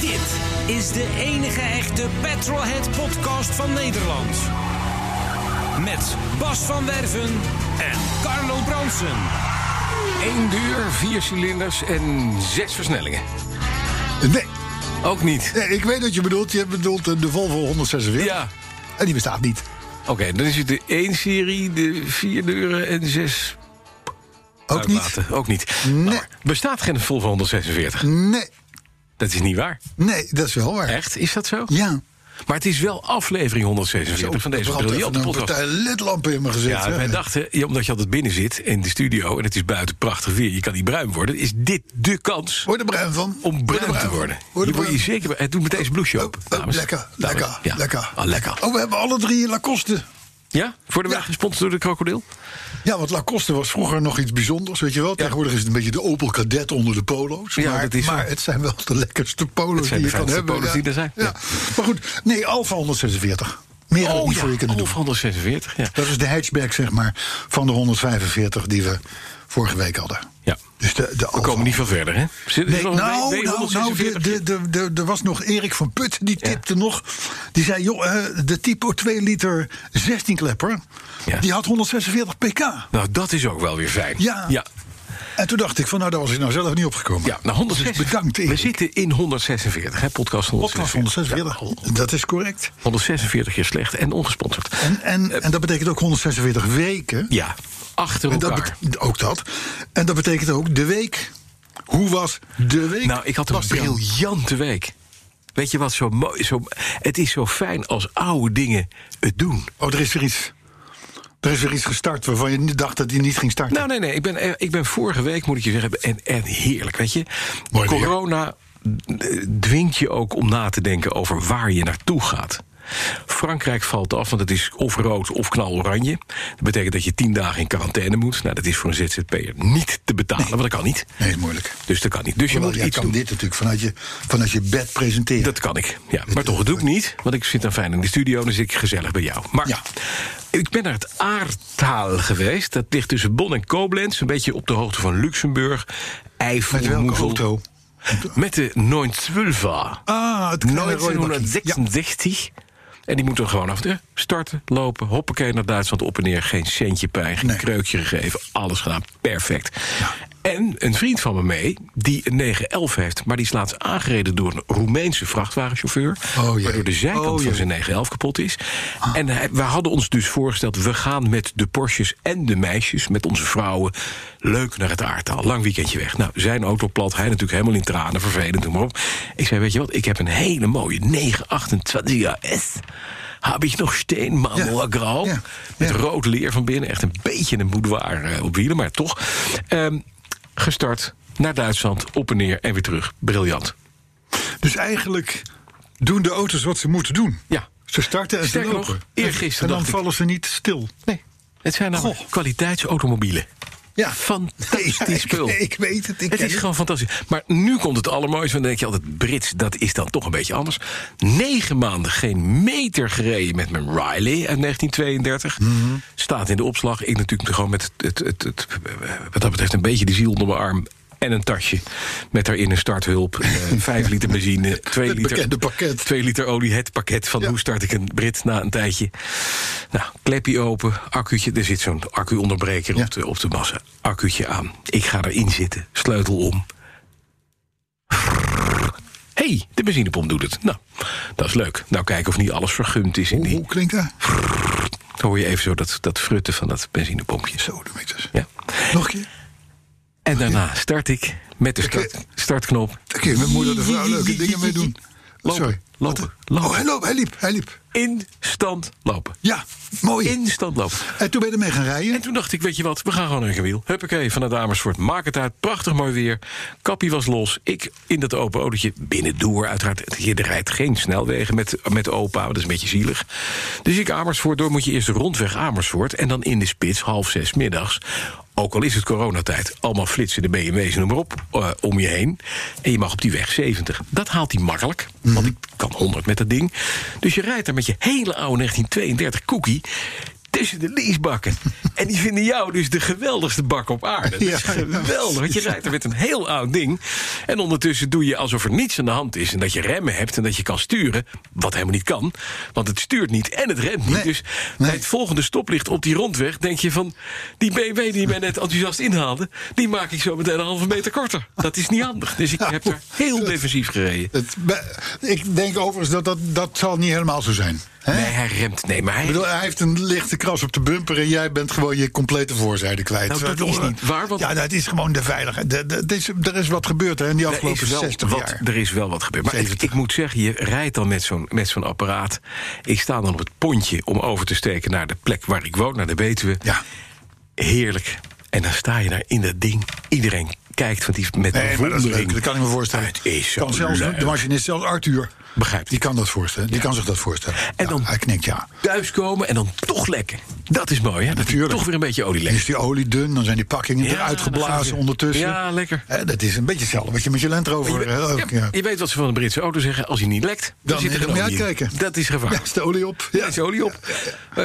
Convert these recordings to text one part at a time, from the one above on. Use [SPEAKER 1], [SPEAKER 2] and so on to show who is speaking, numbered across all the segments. [SPEAKER 1] Dit is de enige echte Petrolhead podcast van Nederland. Met Bas van Werven en Carlo Bronsen.
[SPEAKER 2] Eén deur, vier cilinders en zes versnellingen.
[SPEAKER 3] Nee,
[SPEAKER 2] Ook niet.
[SPEAKER 3] nee, ik weet wat je bedoelt. Je bedoelt eh, de Volvo 146.
[SPEAKER 2] Ja.
[SPEAKER 3] En die bestaat niet.
[SPEAKER 2] Oké, dan is het de één serie, de vier deuren en zes
[SPEAKER 3] Ook niet.
[SPEAKER 2] uitlaten. Ook niet.
[SPEAKER 3] Nee.
[SPEAKER 2] Maar bestaat geen Volvo 146?
[SPEAKER 3] Nee,
[SPEAKER 2] Dat is niet waar.
[SPEAKER 3] nee, dat is wel waar.
[SPEAKER 2] Echt? Is dat zo?
[SPEAKER 3] Ja.
[SPEAKER 2] Maar het is wel aflevering 146 van deze
[SPEAKER 3] Er brandt
[SPEAKER 2] briljante
[SPEAKER 3] even een
[SPEAKER 2] podcast.
[SPEAKER 3] partij ledlampen in mijn gezicht.
[SPEAKER 2] Ja,
[SPEAKER 3] hè.
[SPEAKER 2] wij dachten, ja, omdat je altijd binnen zit in de studio... en het is buiten prachtig weer, je kan niet bruin worden... is dit de kans
[SPEAKER 3] Word er bruin van.
[SPEAKER 2] om
[SPEAKER 3] Word er
[SPEAKER 2] bruin te worden.
[SPEAKER 3] Word er
[SPEAKER 2] Hier word je
[SPEAKER 3] bruin.
[SPEAKER 2] zeker... bij- Het doet meteen zijn bloesje open,
[SPEAKER 3] Oh,
[SPEAKER 2] dames.
[SPEAKER 3] lekker,
[SPEAKER 2] Dames,
[SPEAKER 3] lekker,
[SPEAKER 2] ja.
[SPEAKER 3] lekker.
[SPEAKER 2] Ah, lekker.
[SPEAKER 3] Oh, we hebben alle drie Lacoste.
[SPEAKER 2] Ja? Worden we
[SPEAKER 3] Ja.
[SPEAKER 2] gesponsord door de krokodil?
[SPEAKER 3] Ja, want Lacoste was vroeger nog iets bijzonders, weet je wel. Tegenwoordig is het een beetje de Opel Cadet onder de polo's.
[SPEAKER 2] Ja,
[SPEAKER 3] maar,
[SPEAKER 2] dat is zo.
[SPEAKER 3] maar het zijn wel de lekkerste
[SPEAKER 2] Het
[SPEAKER 3] polo's
[SPEAKER 2] zijn
[SPEAKER 3] die je
[SPEAKER 2] de
[SPEAKER 3] kan
[SPEAKER 2] fijnste
[SPEAKER 3] hebben.
[SPEAKER 2] polo's die er zijn,
[SPEAKER 3] Ja.
[SPEAKER 2] ja. Oh
[SPEAKER 3] Maar goed, nee, Alfa 146. Meer had ik niet voor je kunnen doen.
[SPEAKER 2] Alfa 146, ja.
[SPEAKER 3] Dat is de hatchback, zeg maar, van de 145 die we vorige week hadden.
[SPEAKER 2] ja.
[SPEAKER 3] Dus de, de
[SPEAKER 2] We komen niet veel verder, hè? Zit- is er
[SPEAKER 3] Nee,
[SPEAKER 2] nog
[SPEAKER 3] nou,
[SPEAKER 2] een
[SPEAKER 3] nou,
[SPEAKER 2] W-
[SPEAKER 3] nou,
[SPEAKER 2] W146?
[SPEAKER 3] de- de- de- de- er was nog Erik van Put, die tipte nog. Die zei, joh, eh, de Tipo 2 liter 16-klepper,
[SPEAKER 2] Ja.
[SPEAKER 3] die had 146 pk.
[SPEAKER 2] Nou, dat is ook wel weer fijn.
[SPEAKER 3] Ja.
[SPEAKER 2] Ja,
[SPEAKER 3] En toen dacht ik van, nou, daar was ik nou zelf niet opgekomen.
[SPEAKER 2] ja nou, 146.
[SPEAKER 3] Dus bedankt,
[SPEAKER 2] We
[SPEAKER 3] Erik.
[SPEAKER 2] zitten in 146, hè? Podcast 146.
[SPEAKER 3] Podcast 146, dat is correct.
[SPEAKER 2] 146 keer slecht en ongesponsord.
[SPEAKER 3] En, en,
[SPEAKER 2] Eh,
[SPEAKER 3] en dat betekent ook 146 weken.
[SPEAKER 2] Ja, achter
[SPEAKER 3] En dat
[SPEAKER 2] elkaar.
[SPEAKER 3] bet- ook dat. En dat betekent ook de week. Hoe was de week?
[SPEAKER 2] Nou, ik had een
[SPEAKER 3] Bastiaan?
[SPEAKER 2] briljante week. Weet je wat zo mooi zo, Het is zo fijn als oude dingen het doen.
[SPEAKER 3] Oh, er is weer iets. Er is weer iets gestart waarvan je niet dacht dat hij niet ging starten.
[SPEAKER 2] Nou, nee, nee. Ik ben, eh, ik ben vorige week, moet ik je zeggen, en, en heerlijk. Weet je,
[SPEAKER 3] Mooi weer.
[SPEAKER 2] corona eh, dwingt je ook om na te denken over waar je naartoe gaat. Frankrijk valt af, want het is of rood of knaloranje. Dat betekent dat je tien dagen in quarantaine moet. Nou, dat is voor een ZZP'er niet te betalen, want dat kan niet.
[SPEAKER 3] Nee, is moeilijk.
[SPEAKER 2] Dus dat kan niet. Dus je
[SPEAKER 3] Hoewel,
[SPEAKER 2] moet
[SPEAKER 3] jij
[SPEAKER 2] iets
[SPEAKER 3] kan
[SPEAKER 2] doen.
[SPEAKER 3] dit natuurlijk vanuit je, vanuit je bed presenteren.
[SPEAKER 2] Dat kan ik, ja. Maar toch, dat doe ik niet. Want ik zit dan fijn in de studio, dan zit ik gezellig bij jou. Maar
[SPEAKER 3] Ja.
[SPEAKER 2] ik ben naar het Aartaal geweest. Dat ligt tussen Bonn en Koblenz. Een beetje op de hoogte van Luxemburg. Eifel,
[SPEAKER 3] Met welke
[SPEAKER 2] Moezel.
[SPEAKER 3] auto?
[SPEAKER 2] Met de 912.
[SPEAKER 3] Ah, het kleine rode bakje. Ja.
[SPEAKER 2] 1966. En die moet dan gewoon af de starten, lopen, hoppakee naar Duitsland op en neer. Geen centje pijn, geen
[SPEAKER 3] Nee.
[SPEAKER 2] kreukje gegeven, alles gedaan, perfect. En een vriend van me mee, die een 911 heeft... maar die is laatst aangereden door een Roemeense vrachtwagenchauffeur...
[SPEAKER 3] Oh, jee.
[SPEAKER 2] waardoor de zijkant
[SPEAKER 3] Oh,
[SPEAKER 2] van
[SPEAKER 3] jee.
[SPEAKER 2] zijn 911 kapot is. En hij- we hadden ons dus voorgesteld... we gaan met de Porsches en de meisjes, met onze vrouwen... leuk naar het aardtaal, lang weekendje weg. Nou, zijn auto plat, hij natuurlijk helemaal in tranen, vervelend, noem maar op. Ik zei, weet je wat, ik heb een hele mooie 928 S... Heb ik nog steen, marmor,
[SPEAKER 3] Ja.
[SPEAKER 2] grauw.
[SPEAKER 3] Ja.
[SPEAKER 2] Met
[SPEAKER 3] Ja.
[SPEAKER 2] rood leer van binnen. Echt een beetje een boudoir eh, op wielen, maar toch. Ehm, gestart naar Duitsland, op en neer en weer terug. Briljant.
[SPEAKER 3] Dus eigenlijk doen de auto's wat ze moeten doen.
[SPEAKER 2] Ja.
[SPEAKER 3] Ze starten en
[SPEAKER 2] Sterker
[SPEAKER 3] ze
[SPEAKER 2] nog,
[SPEAKER 3] lopen.
[SPEAKER 2] eergisteren
[SPEAKER 3] En dan
[SPEAKER 2] dacht ik-
[SPEAKER 3] vallen ze niet stil.
[SPEAKER 2] Nee, het zijn nou
[SPEAKER 3] Goh.
[SPEAKER 2] kwaliteitsautomobielen.
[SPEAKER 3] Ja.
[SPEAKER 2] Fantastisch
[SPEAKER 3] Ja, ik-
[SPEAKER 2] spul.
[SPEAKER 3] Ik, weet het. Ik
[SPEAKER 2] het
[SPEAKER 3] ken
[SPEAKER 2] is gewoon fantastisch. Maar nu komt het allermooiste. Want dan denk je altijd, Brits, dat is dan toch een beetje anders. Negen maanden geen meter gereden met mijn Riley uit 1932.
[SPEAKER 3] Mhm.
[SPEAKER 2] Staat in de opslag. Ik natuurlijk gewoon met het, het, het, het- wat dat betreft een beetje de ziel onder mijn arm. En een tasje met daarin een starthulp. eh, Vijf liter benzine. Twee
[SPEAKER 3] Het
[SPEAKER 2] liter,
[SPEAKER 3] bekende pakket.
[SPEAKER 2] Twee liter olie. Het pakket van
[SPEAKER 3] Ja.
[SPEAKER 2] hoe start ik een Brit na een tijdje. Nou, klepje open, accuutje. Er zit zo'n accu-onderbreker
[SPEAKER 3] Ja.
[SPEAKER 2] op, de, op de massa. Accuutje aan. Ik ga erin zitten. Sleutel om. Hé, hey, de benzinepomp doet het. Nou, dat is leuk. Nou, kijken of niet alles vergumd is in
[SPEAKER 3] Hoe,
[SPEAKER 2] die.
[SPEAKER 3] hoe klinkt dat?
[SPEAKER 2] Dan hoor je even zo dat, dat frutten van dat benzinepompje.
[SPEAKER 3] Zo, de meters.
[SPEAKER 2] Ja.
[SPEAKER 3] Nog een keer.
[SPEAKER 2] En daarna start ik met de
[SPEAKER 3] Oké.
[SPEAKER 2] start, startknop.
[SPEAKER 3] Daar kun je met moeder de vrouw leuke dingen mee doen.
[SPEAKER 2] Lopen,
[SPEAKER 3] Sorry.
[SPEAKER 2] lopen,
[SPEAKER 3] Wat?
[SPEAKER 2] lopen.
[SPEAKER 3] Oh, hij loopt, hij liep, hij liep.
[SPEAKER 2] Instant lopen.
[SPEAKER 3] Ja, mooi.
[SPEAKER 2] Instant lopen.
[SPEAKER 3] En toen ben je ermee gaan
[SPEAKER 2] En
[SPEAKER 3] rijden.
[SPEAKER 2] toen dacht ik, weet je wat, we gaan gewoon een gewiel. Huppakee, vanuit Amersfoort, maak het uit. Prachtig mooi weer. Kappie was los. Ik in dat open autootje, binnendoor uiteraard. Je rijdt geen snelwegen met, met opa, dat is een beetje zielig. Dus ik Amersfoort door, moet je eerst de rondweg Amersfoort... en dan in de spits, half zes middags... Ook al is het coronatijd, allemaal flitsen de BMW's, noem maar op, eh, om je heen. En je mag op die weg 70. Dat haalt hij makkelijk, want ik kan 100 met dat ding. Dus je rijdt daar met je hele oude 1932 cookie tussen de leasebakken. En die vinden jou dus de geweldigste bak op aarde. Dat is
[SPEAKER 3] Ja.
[SPEAKER 2] geweldig, want je rijdt er met een heel oud ding. En ondertussen doe je alsof er niets aan de hand is... en dat je remmen hebt en dat je kan sturen, wat helemaal niet kan. Want het stuurt niet en het remt niet.
[SPEAKER 3] Nee.
[SPEAKER 2] Dus bij
[SPEAKER 3] Nee.
[SPEAKER 2] het volgende stoplicht op die rondweg denk je van... die BMW die mij net enthousiast inhaalde... die maak ik zo meteen een halve meter korter. Dat is niet handig. Dus
[SPEAKER 3] Nou.
[SPEAKER 2] ik heb er heel defensief gereden.
[SPEAKER 3] Het, be- ik denk overigens dat, dat dat zal niet helemaal zo zijn. Hè?
[SPEAKER 2] Nee, hij remt. Nee, maar hij...
[SPEAKER 3] Ik bedoel, hij heeft een lichte kras op de bumper en jij bent gewoon je complete voorzijde kwijt.
[SPEAKER 2] Nou, dat
[SPEAKER 3] Terwijl-
[SPEAKER 2] is niet waar, want-
[SPEAKER 3] Ja, dat is gewoon de veiligheid. De- de- het is- Er is wat gebeurd hè, in die
[SPEAKER 2] Er is,
[SPEAKER 3] afgelopen
[SPEAKER 2] wel
[SPEAKER 3] 60
[SPEAKER 2] wat,
[SPEAKER 3] jaar.
[SPEAKER 2] er is wel wat gebeurd. Maar ik,
[SPEAKER 3] 70.
[SPEAKER 2] ik moet zeggen, je rijdt dan met zo'n, met zo'n apparaat. Ik sta dan op het pontje om over te steken naar de plek waar ik woon, naar de Betuwe.
[SPEAKER 3] Ja.
[SPEAKER 2] Heerlijk. En dan sta je daar in dat ding. Iedereen kijkt van die met
[SPEAKER 3] Nee, maar dat is
[SPEAKER 2] bewondering.
[SPEAKER 3] leuk. Dat kan ik me voorstellen.
[SPEAKER 2] Het is zo
[SPEAKER 3] kan zelfs,
[SPEAKER 2] leuk.
[SPEAKER 3] de machinist, zelfs Arthur.
[SPEAKER 2] Begrijpt.
[SPEAKER 3] Die kan dat voorstellen. Die kan zich dat voorstellen.
[SPEAKER 2] En
[SPEAKER 3] Ja,
[SPEAKER 2] dan-
[SPEAKER 3] hij knikt ja.
[SPEAKER 2] Thuiskomen en dan toch lekker. Dat is mooi, hè? Dat je
[SPEAKER 3] Natuurlijk.
[SPEAKER 2] toch weer een beetje olie
[SPEAKER 3] Dan
[SPEAKER 2] lekker.
[SPEAKER 3] is die olie dun, dan zijn die pakkingen
[SPEAKER 2] Ja,
[SPEAKER 3] eruit
[SPEAKER 2] dan gaan
[SPEAKER 3] geblazen
[SPEAKER 2] ze-
[SPEAKER 3] ondertussen.
[SPEAKER 2] Ja, lekker.
[SPEAKER 3] Hè, dat is een beetje hetzelfde wat je met je Land
[SPEAKER 2] Je,
[SPEAKER 3] Rover...
[SPEAKER 2] weet-
[SPEAKER 3] hè, ook,
[SPEAKER 2] ja,
[SPEAKER 3] ja.
[SPEAKER 2] je weet wat ze van de Britse auto zeggen. Als hij niet lekt, dan,
[SPEAKER 3] Dan
[SPEAKER 2] zit er
[SPEAKER 3] moet je
[SPEAKER 2] geen olie in.
[SPEAKER 3] uitkijken.
[SPEAKER 2] Dat is
[SPEAKER 3] Ja,
[SPEAKER 2] gevaar.
[SPEAKER 3] is de olie op?
[SPEAKER 2] Daar is olie op. Eh,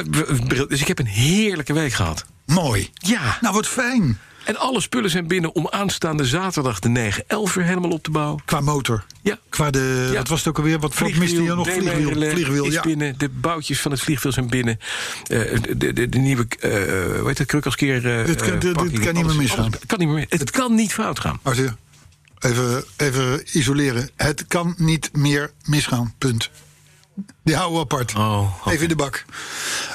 [SPEAKER 2] Dus ik heb een heerlijke week gehad.
[SPEAKER 3] Mooi.
[SPEAKER 2] Ja.
[SPEAKER 3] Nou, wat fijn.
[SPEAKER 2] En alle spullen zijn binnen om aanstaande zaterdag de 9-11 weer helemaal op te bouwen.
[SPEAKER 3] Qua motor.
[SPEAKER 2] Ja.
[SPEAKER 3] Qua de...
[SPEAKER 2] Ja.
[SPEAKER 3] Wat was het ook alweer? Wat, wat miste je nog? Vliegwiel.
[SPEAKER 2] deelnemerrelais
[SPEAKER 3] Vliegwiel,
[SPEAKER 2] is
[SPEAKER 3] ja.
[SPEAKER 2] binnen. De boutjes van het vliegwiel zijn binnen. Eh, de, de, de nieuwe, eh hoe heet dat, krukelskeer... eh,
[SPEAKER 3] Dit kan-
[SPEAKER 2] eh,
[SPEAKER 3] dit- dit
[SPEAKER 2] pakking,
[SPEAKER 3] kan niet meer
[SPEAKER 2] alles-
[SPEAKER 3] misgaan.
[SPEAKER 2] alles- kan niet meer, het kan niet fout gaan.
[SPEAKER 3] Arthur, Oh, even, even isoleren. Het kan niet meer misgaan. Punt. Die houden we apart.
[SPEAKER 2] Oh, oké.
[SPEAKER 3] Even in de bak.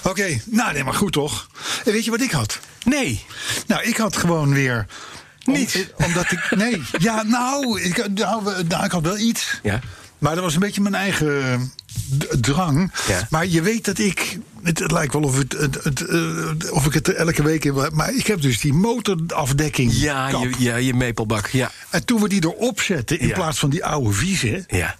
[SPEAKER 3] Oké, nou nee, maar goed toch? En weet je wat ik had?
[SPEAKER 2] Nee,
[SPEAKER 3] Nou, ik had gewoon weer. om-
[SPEAKER 2] Niets.
[SPEAKER 3] omdat ik. Nee, ja, nou ik, nou, we- nou, ik had wel iets.
[SPEAKER 2] Ja.
[SPEAKER 3] Maar dat was een beetje mijn eigen eh, d- drang.
[SPEAKER 2] Ja.
[SPEAKER 3] Maar je weet dat ik. Het, het lijkt wel of, het, het, het, eh, of ik het er elke week in. Maar ik heb dus die motorafdekking.
[SPEAKER 2] ja,
[SPEAKER 3] kap.
[SPEAKER 2] je, ja, je meepelbak. Ja,
[SPEAKER 3] En toen we die erop zetten in
[SPEAKER 2] Ja.
[SPEAKER 3] plaats van die oude vieze.
[SPEAKER 2] ja.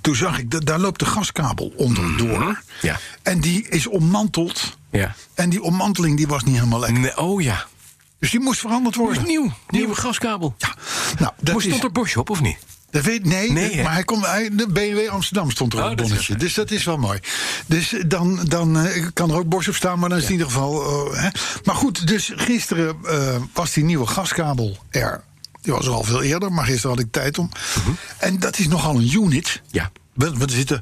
[SPEAKER 3] Toen zag ik, da- daar loopt de gaskabel onderdoor.
[SPEAKER 2] Mhm. Ja.
[SPEAKER 3] En die is ommanteld.
[SPEAKER 2] ja.
[SPEAKER 3] En die ommanteling die was niet helemaal lekker.
[SPEAKER 2] Nee, oh ja,
[SPEAKER 3] Dus die moest veranderd worden.
[SPEAKER 2] nieuw. Nieuwe gaskabel.
[SPEAKER 3] Ja. Nou, dat
[SPEAKER 2] Moest
[SPEAKER 3] is,
[SPEAKER 2] stond er Bosch op, of niet?
[SPEAKER 3] dat weet, nee,
[SPEAKER 2] Nee, hè?
[SPEAKER 3] maar hij kon, hij, de BMW Amsterdam stond er
[SPEAKER 2] Oh,
[SPEAKER 3] op het
[SPEAKER 2] dat is
[SPEAKER 3] bonnetje.
[SPEAKER 2] waar.
[SPEAKER 3] Dus dat is wel mooi. Dus dan, dan eh, kan er ook borst op staan, maar dan is het in ieder geval... eh, hè. Maar goed, dus gisteren eh, was die nieuwe gaskabel er. Die was er al veel eerder, maar gisteren had ik tijd om. En dat is nogal een unit.
[SPEAKER 2] Mhm. Ja.
[SPEAKER 3] Wel, Want er zitten,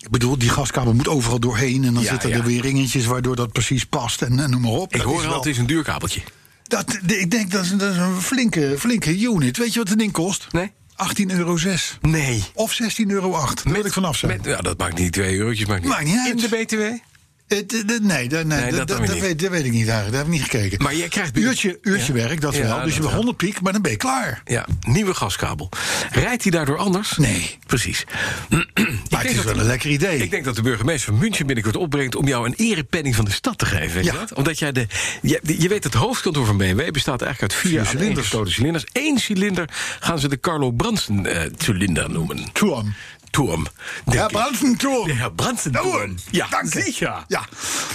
[SPEAKER 3] ik bedoel, die gaskabel moet overal doorheen. En dan
[SPEAKER 2] Ja,
[SPEAKER 3] zitten
[SPEAKER 2] ja.
[SPEAKER 3] er weer ringetjes waardoor dat precies past. En, en noem maar op.
[SPEAKER 2] Ik
[SPEAKER 3] Dat
[SPEAKER 2] hoor
[SPEAKER 3] is
[SPEAKER 2] al,
[SPEAKER 3] wel-
[SPEAKER 2] het is een duur kabeltje.
[SPEAKER 3] dat, de- ik denk dat is, dat is een flinke, flinke unit. Weet je wat het ding kost?
[SPEAKER 2] Nee.
[SPEAKER 3] 18,06 euro.
[SPEAKER 2] Nee.
[SPEAKER 3] Of 16,08 euro. Daar wil ik vanaf zijn.
[SPEAKER 2] Met, ja, dat maakt niet twee eurotjes. Maakt niet,
[SPEAKER 3] Maakt niet uit.
[SPEAKER 2] In de BTW?
[SPEAKER 3] Het- het- het- Eh, nee, dat, nee,
[SPEAKER 2] Nee,
[SPEAKER 3] dat,
[SPEAKER 2] dat dan
[SPEAKER 3] dat,
[SPEAKER 2] weer
[SPEAKER 3] dat
[SPEAKER 2] niet.
[SPEAKER 3] weet, dat weet ik niet eigenlijk. Daar heb ik niet gekeken.
[SPEAKER 2] Maar jij krijgt binnen-
[SPEAKER 3] uurtje, uurtje
[SPEAKER 2] Ja?
[SPEAKER 3] werk, dat
[SPEAKER 2] Ja,
[SPEAKER 3] wel. Dus je
[SPEAKER 2] dat
[SPEAKER 3] hebt
[SPEAKER 2] wel.
[SPEAKER 3] 100 piek, maar dan ben je klaar.
[SPEAKER 2] Ja, nieuwe gaskabel. Rijdt hij daardoor anders?
[SPEAKER 3] Nee.
[SPEAKER 2] Precies.
[SPEAKER 3] Maar het is wel een lekker idee.
[SPEAKER 2] Ik denk dat de burgemeester van München binnenkort opbrengt om jou een erepenning van de stad te geven. Weet je
[SPEAKER 3] Ja.
[SPEAKER 2] dat? Omdat jij de. Je, je weet, het hoofdkantoor van BMW bestaat eigenlijk uit vier
[SPEAKER 3] cilinders.
[SPEAKER 2] cilinders. cilinders. Eén cilinder gaan ze de Carlo Bransen eh, cilinder noemen.
[SPEAKER 3] Turm.
[SPEAKER 2] Toem.
[SPEAKER 3] Ja, Brandenturm.
[SPEAKER 2] De Herr Bransen.
[SPEAKER 3] Jawohl.
[SPEAKER 2] Ja,
[SPEAKER 3] Nou, Dank je.
[SPEAKER 2] zeker.
[SPEAKER 3] Ja.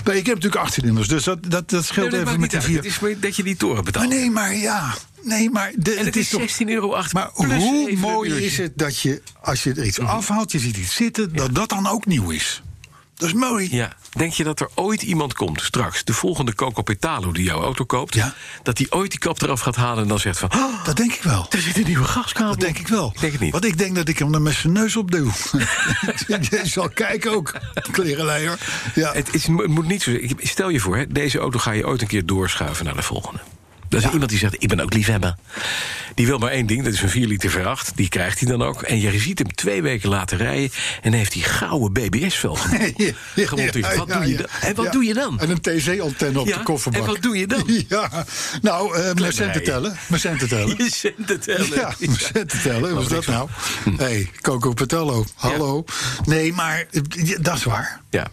[SPEAKER 3] Nee, ik heb natuurlijk 18 nummers, dus dat, dat, dat
[SPEAKER 2] Nee, dat
[SPEAKER 3] scheelt
[SPEAKER 2] maakt
[SPEAKER 3] even
[SPEAKER 2] niet
[SPEAKER 3] met de
[SPEAKER 2] uit.
[SPEAKER 3] vier.
[SPEAKER 2] Het is maar dat je die toren betaalt.
[SPEAKER 3] Maar nee, maar ja. Nee, maar de-
[SPEAKER 2] en het is 16,08 euro.
[SPEAKER 3] Maar
[SPEAKER 2] plus
[SPEAKER 3] hoe
[SPEAKER 2] even
[SPEAKER 3] mooi
[SPEAKER 2] een uurtje. Mhm.
[SPEAKER 3] is het dat je, als je er iets afhaalt, je ziet iets zitten, dat dat dan ook nieuw is. Dat is mooi.
[SPEAKER 2] Ja. Denk je dat er ooit iemand komt, straks, de volgende Coco Petalo die jouw auto koopt,
[SPEAKER 3] Ja.
[SPEAKER 2] dat die ooit die kap eraf gaat halen en dan zegt van, "Oh,
[SPEAKER 3] Dat denk ik wel.
[SPEAKER 2] er zit een nieuwe gaskabel.
[SPEAKER 3] Dat denk ik wel.
[SPEAKER 2] Ik denk het niet.
[SPEAKER 3] Want ik denk dat ik hem dan met zijn neus op doe. je zal kijken ook, klerenleier. Ja.
[SPEAKER 2] Het, is, het moet niet zo. ik- Stel je voor, hè, deze auto ga je ooit een keer doorschuiven naar de volgende. Dat is iemand die zegt, ik ben ook liefhebber. Die wil maar één ding, dat is een 4 liter V8. Die krijgt hij dan ook. En je ziet hem twee weken later rijden... en heeft die gouden BBS-vel
[SPEAKER 3] Ja, ja,
[SPEAKER 2] gemonteerd. Wat
[SPEAKER 3] ja,
[SPEAKER 2] doe je
[SPEAKER 3] ja.
[SPEAKER 2] dan? En wat
[SPEAKER 3] Ja.
[SPEAKER 2] doe je dan?
[SPEAKER 3] En een TC-antenne op
[SPEAKER 2] Ja,
[SPEAKER 3] de kofferbak.
[SPEAKER 2] en wat doe je dan?
[SPEAKER 3] Ja, nou, eh mijn centen tellen. Mijn centen tellen.
[SPEAKER 2] Je zendt het wel.
[SPEAKER 3] Ja, mijn centen tellen. Wat is dat
[SPEAKER 2] niks
[SPEAKER 3] nou? Hé, hey, Coco Patello. Hallo. Nee, maar eh, ja, dat is waar.
[SPEAKER 2] Ja.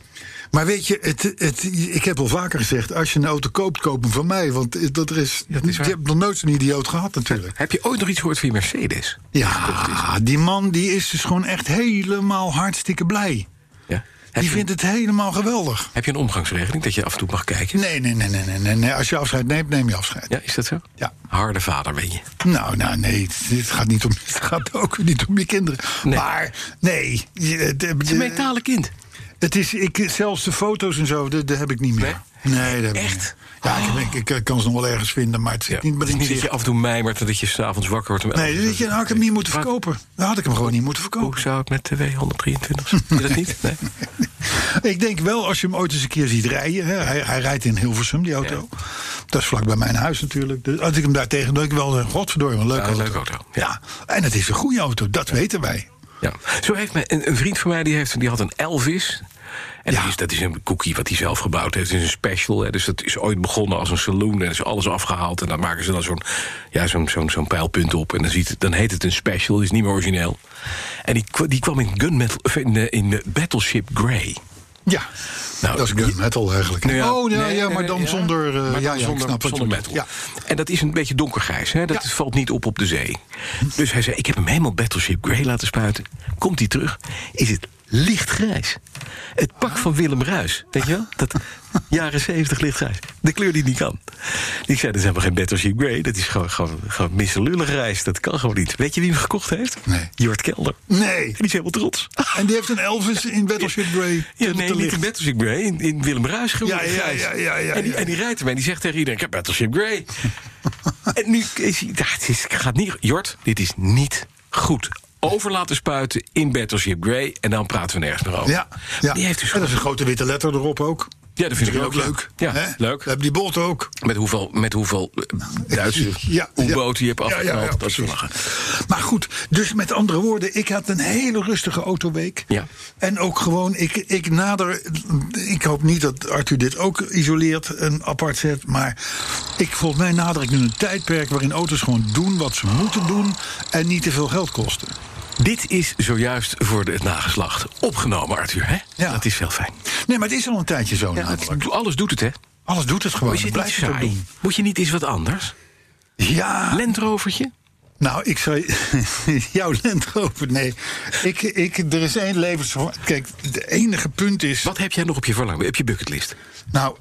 [SPEAKER 3] Maar weet je, het, het, ik heb al vaker gezegd... als je een auto koopt, koop hem van mij. Want eh, dat er is,
[SPEAKER 2] is waar.
[SPEAKER 3] je hebt nog nooit zo'n idioot gehad natuurlijk.
[SPEAKER 2] Heb je ooit nog iets gehoord van je Mercedes?
[SPEAKER 3] Ja, die man die is dus gewoon echt helemaal hartstikke blij.
[SPEAKER 2] Ja. Heb,
[SPEAKER 3] Die
[SPEAKER 2] je,
[SPEAKER 3] vindt het helemaal geweldig.
[SPEAKER 2] heb je een omgangsregeling dat je af en toe mag kijken?
[SPEAKER 3] Nee, nee, nee, nee, nee, nee, nee. Als je afscheid neemt, neem je afscheid.
[SPEAKER 2] Ja, is dat zo?
[SPEAKER 3] Ja.
[SPEAKER 2] Harde vader ben je.
[SPEAKER 3] Nou, nou, nee, het, het gaat niet om, het gaat ook niet om je kinderen.
[SPEAKER 2] Nee.
[SPEAKER 3] Maar nee, je- het,
[SPEAKER 2] Het is een mentale kind.
[SPEAKER 3] het is, ik, zelfs de foto's en zo, dat, dat heb ik niet meer. Nee, dat heb ik
[SPEAKER 2] Echt?
[SPEAKER 3] niet meer. Ja, ik, ik, ik kan ze nog wel ergens vinden, maar het zit
[SPEAKER 2] Ja.
[SPEAKER 3] niet
[SPEAKER 2] Het
[SPEAKER 3] meer
[SPEAKER 2] is
[SPEAKER 3] in
[SPEAKER 2] niet dat je
[SPEAKER 3] zicht.
[SPEAKER 2] af en toe mijmert en dat je s'avonds wakker wordt. om elf
[SPEAKER 3] Nee,
[SPEAKER 2] uur.
[SPEAKER 3] dat je, dan had ik hem niet moeten
[SPEAKER 2] Wat-
[SPEAKER 3] verkopen. Dan had ik hem gewoon niet moeten verkopen.
[SPEAKER 2] Hoe zou het met de W123? Zie je dat niet? Nee?
[SPEAKER 3] Ik denk wel, als je hem ooit eens een keer ziet rijden. Hè, hij, hij rijdt in Hilversum, die auto. Dat is vlak bij mijn huis natuurlijk. Dus als ik hem daar tegen doe, ik wel een godverdorie, wat een leuke
[SPEAKER 2] Ja, een
[SPEAKER 3] auto.
[SPEAKER 2] leuke auto,
[SPEAKER 3] Ja. en het is een goede auto, dat weten wij.
[SPEAKER 2] Ja. Zo heeft mij een, een vriend van mij die, heeft, die had een Elvis. En
[SPEAKER 3] Ja.
[SPEAKER 2] dat, is, dat is een cookie wat hij zelf gebouwd heeft. Het is een special. Hè. Dus dat is ooit begonnen als een saloon. En er is alles afgehaald. En dan maken ze dan zo'n ja, zo'n zo'n zo'n pijlpunt op. En dan, ziet, het- dan heet het een special. Die is niet meer origineel. En die, kwa- die kwam in, gunmetal, of in, eh, in eh, Battleship Grey.
[SPEAKER 3] Ja,
[SPEAKER 2] Nou,
[SPEAKER 3] dat is gun
[SPEAKER 2] je-
[SPEAKER 3] metal eigenlijk.
[SPEAKER 2] Nou ja,
[SPEAKER 3] oh, nee,
[SPEAKER 2] nee,
[SPEAKER 3] ja,
[SPEAKER 2] nee,
[SPEAKER 3] maar
[SPEAKER 2] nee,
[SPEAKER 3] dan
[SPEAKER 2] ja.
[SPEAKER 3] zonder... eh,
[SPEAKER 2] Maar dan
[SPEAKER 3] ja, ja,
[SPEAKER 2] zonder,
[SPEAKER 3] ik snap wat je
[SPEAKER 2] zonder metal.
[SPEAKER 3] bedoelt. Ja.
[SPEAKER 2] En dat is een beetje donkergrijs. Hè? Dat valt niet op op de zee. Dus hij zei, ik heb hem helemaal Battleship Grey laten spuiten. Komt hij terug, is het lichtgrijs. Het pak van Willem Ruis, weet je wel? Dat jaren zeventig lichtgrijs. De kleur die het niet kan. Ik zei, dat is helemaal geen Battleship Grey. Dat is gewoon, gewoon, gewoon misselullig grijs. Dat kan gewoon niet. Weet je wie hem gekocht heeft?
[SPEAKER 3] Nee.
[SPEAKER 2] Jort Kelder. En
[SPEAKER 3] Nee,
[SPEAKER 2] die is helemaal trots.
[SPEAKER 3] en die heeft een Elvis in Battleship Grey.
[SPEAKER 2] Ja,
[SPEAKER 3] te
[SPEAKER 2] nee, niet
[SPEAKER 3] licht.
[SPEAKER 2] in Battleship Grey, in, in Willem Ruijs
[SPEAKER 3] Ja, ja, ja, ja, ja,
[SPEAKER 2] en, die,
[SPEAKER 3] ja.
[SPEAKER 2] en die rijdt ermee en die zegt tegen iedereen, ik heb Battleship Grey. en nu is hij, ja, het is, gaat niet, Jort, dit is niet goed. Over laten spuiten in Battleship Grey en dan praten we nergens meer over.
[SPEAKER 3] Ja, ja.
[SPEAKER 2] Die heeft dus
[SPEAKER 3] en dat is een grote witte letter erop ook.
[SPEAKER 2] Ja, dat vind ik
[SPEAKER 3] Ook,
[SPEAKER 2] ook
[SPEAKER 3] leuk.
[SPEAKER 2] Ja,
[SPEAKER 3] hè?
[SPEAKER 2] leuk.
[SPEAKER 3] We hebben die bolt ook.
[SPEAKER 2] Met hoeveel, met hoeveel eh, Duitse
[SPEAKER 3] Ja, ja.
[SPEAKER 2] U-boten je hebt
[SPEAKER 3] Ja, ja,
[SPEAKER 2] afgehaald.
[SPEAKER 3] ja,
[SPEAKER 2] dat is
[SPEAKER 3] precies.
[SPEAKER 2] lachen.
[SPEAKER 3] Maar goed, dus met andere woorden, ik had een hele rustige autoweek.
[SPEAKER 2] Ja.
[SPEAKER 3] En ook gewoon, ik, ik nader. Ik hoop niet dat Arthur dit ook isoleert en apart zet. Maar ik, volgens mij nader ik nu een tijdperk waarin auto's gewoon doen wat ze moeten doen. En niet te veel geld kosten.
[SPEAKER 2] Dit is zojuist voor de, het nageslacht opgenomen, Arthur. Hè?
[SPEAKER 3] Ja.
[SPEAKER 2] Dat is heel fijn.
[SPEAKER 3] Nee, maar het is al een tijdje zo. namelijk.
[SPEAKER 2] Het- alles doet het, hè?
[SPEAKER 3] Alles doet het gewoon.
[SPEAKER 2] Is het niet
[SPEAKER 3] Blijf het ook
[SPEAKER 2] saai?
[SPEAKER 3] doen.
[SPEAKER 2] Moet je niet eens wat anders?
[SPEAKER 3] Ja.
[SPEAKER 2] Landrovertje?
[SPEAKER 3] Nou, ik zou jouw lent over. Nee, ik, ik, er is één levens. Kijk, het enige punt is.
[SPEAKER 2] Wat heb jij nog op je verlangen, op je bucketlist?
[SPEAKER 3] Nou,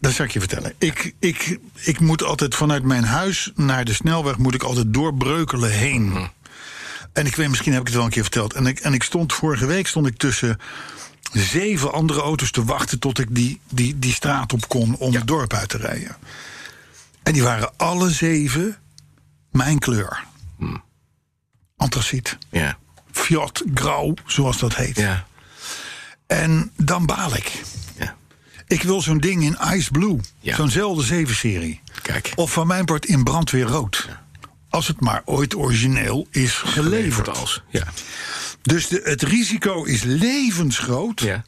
[SPEAKER 3] dat zal ik je vertellen. Ik, ik, ik moet altijd vanuit mijn huis naar de snelweg moet ik altijd door Breukelen heen. En ik weet, misschien heb ik het wel een keer verteld. En ik, en ik stond vorige week stond ik tussen zeven andere auto's te wachten tot ik die, die, die straat op kon om het dorp uit te rijden. En die waren alle zeven mijn kleur. Antraciet,
[SPEAKER 2] Ja.
[SPEAKER 3] fjord, grauw, zoals dat heet.
[SPEAKER 2] Ja.
[SPEAKER 3] En dan baal ik.
[SPEAKER 2] ja.
[SPEAKER 3] Ik wil zo'n ding in Ice Blue.
[SPEAKER 2] Ja.
[SPEAKER 3] Zo'nzelfde 7-serie.
[SPEAKER 2] Kijk.
[SPEAKER 3] Of van mijn part in Brandweer Rood. Als het maar ooit origineel is geleverd.
[SPEAKER 2] als. Ja.
[SPEAKER 3] Dus de, het risico is levensgroot.
[SPEAKER 2] ja.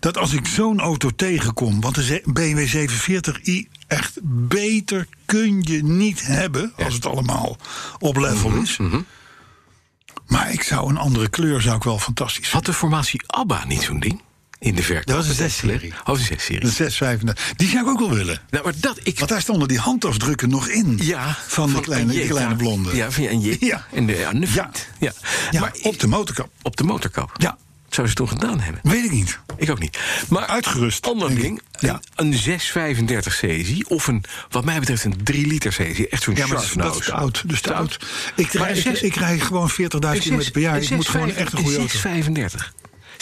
[SPEAKER 3] Dat als ik zo'n auto tegenkom. Want de ze- BMW 740i echt beter kun je niet hebben. Als het allemaal op level
[SPEAKER 2] Mhm,
[SPEAKER 3] is. Maar ik zou een andere kleur zou ik wel fantastisch vinden.
[SPEAKER 2] Had de formatie ABBA niet zo'n ding? In de verkoop.
[SPEAKER 3] Dat was een 6-serie.
[SPEAKER 2] Oh, een serie
[SPEAKER 3] De 635. Die zou ik ook wel willen.
[SPEAKER 2] Nou, maar dat ik...
[SPEAKER 3] Want daar stonden die handafdrukken nog in.
[SPEAKER 2] Ja.
[SPEAKER 3] van, de kleine, die
[SPEAKER 2] Anjeta.
[SPEAKER 3] kleine blonde.
[SPEAKER 2] Ja, van Anjeta.
[SPEAKER 3] Ja.
[SPEAKER 2] En de Annefiet. Ja.
[SPEAKER 3] Ja,
[SPEAKER 2] Maar
[SPEAKER 3] op de motorkap.
[SPEAKER 2] op de motorkap.
[SPEAKER 3] Ja.
[SPEAKER 2] Zou ze het toen gedaan hebben?
[SPEAKER 3] Weet ik niet.
[SPEAKER 2] Ik ook niet. Maar
[SPEAKER 3] Uitgerust,
[SPEAKER 2] Ander
[SPEAKER 3] denk
[SPEAKER 2] ding.
[SPEAKER 3] ik. Ja.
[SPEAKER 2] Een, een 635 cc. Of een, wat mij betreft, een 3 liter cc. Echt zo'n
[SPEAKER 3] Ja, maar dat is,
[SPEAKER 2] Sharpnose.
[SPEAKER 3] dat is te oud. Dus te
[SPEAKER 2] Te
[SPEAKER 3] oud. Ik,
[SPEAKER 2] Maar
[SPEAKER 3] rij,
[SPEAKER 2] een
[SPEAKER 3] ik,
[SPEAKER 2] zes-
[SPEAKER 3] ik rij gewoon 40.000 kilometer per jaar. Ik moet gewoon echt een goede auto.
[SPEAKER 2] 635.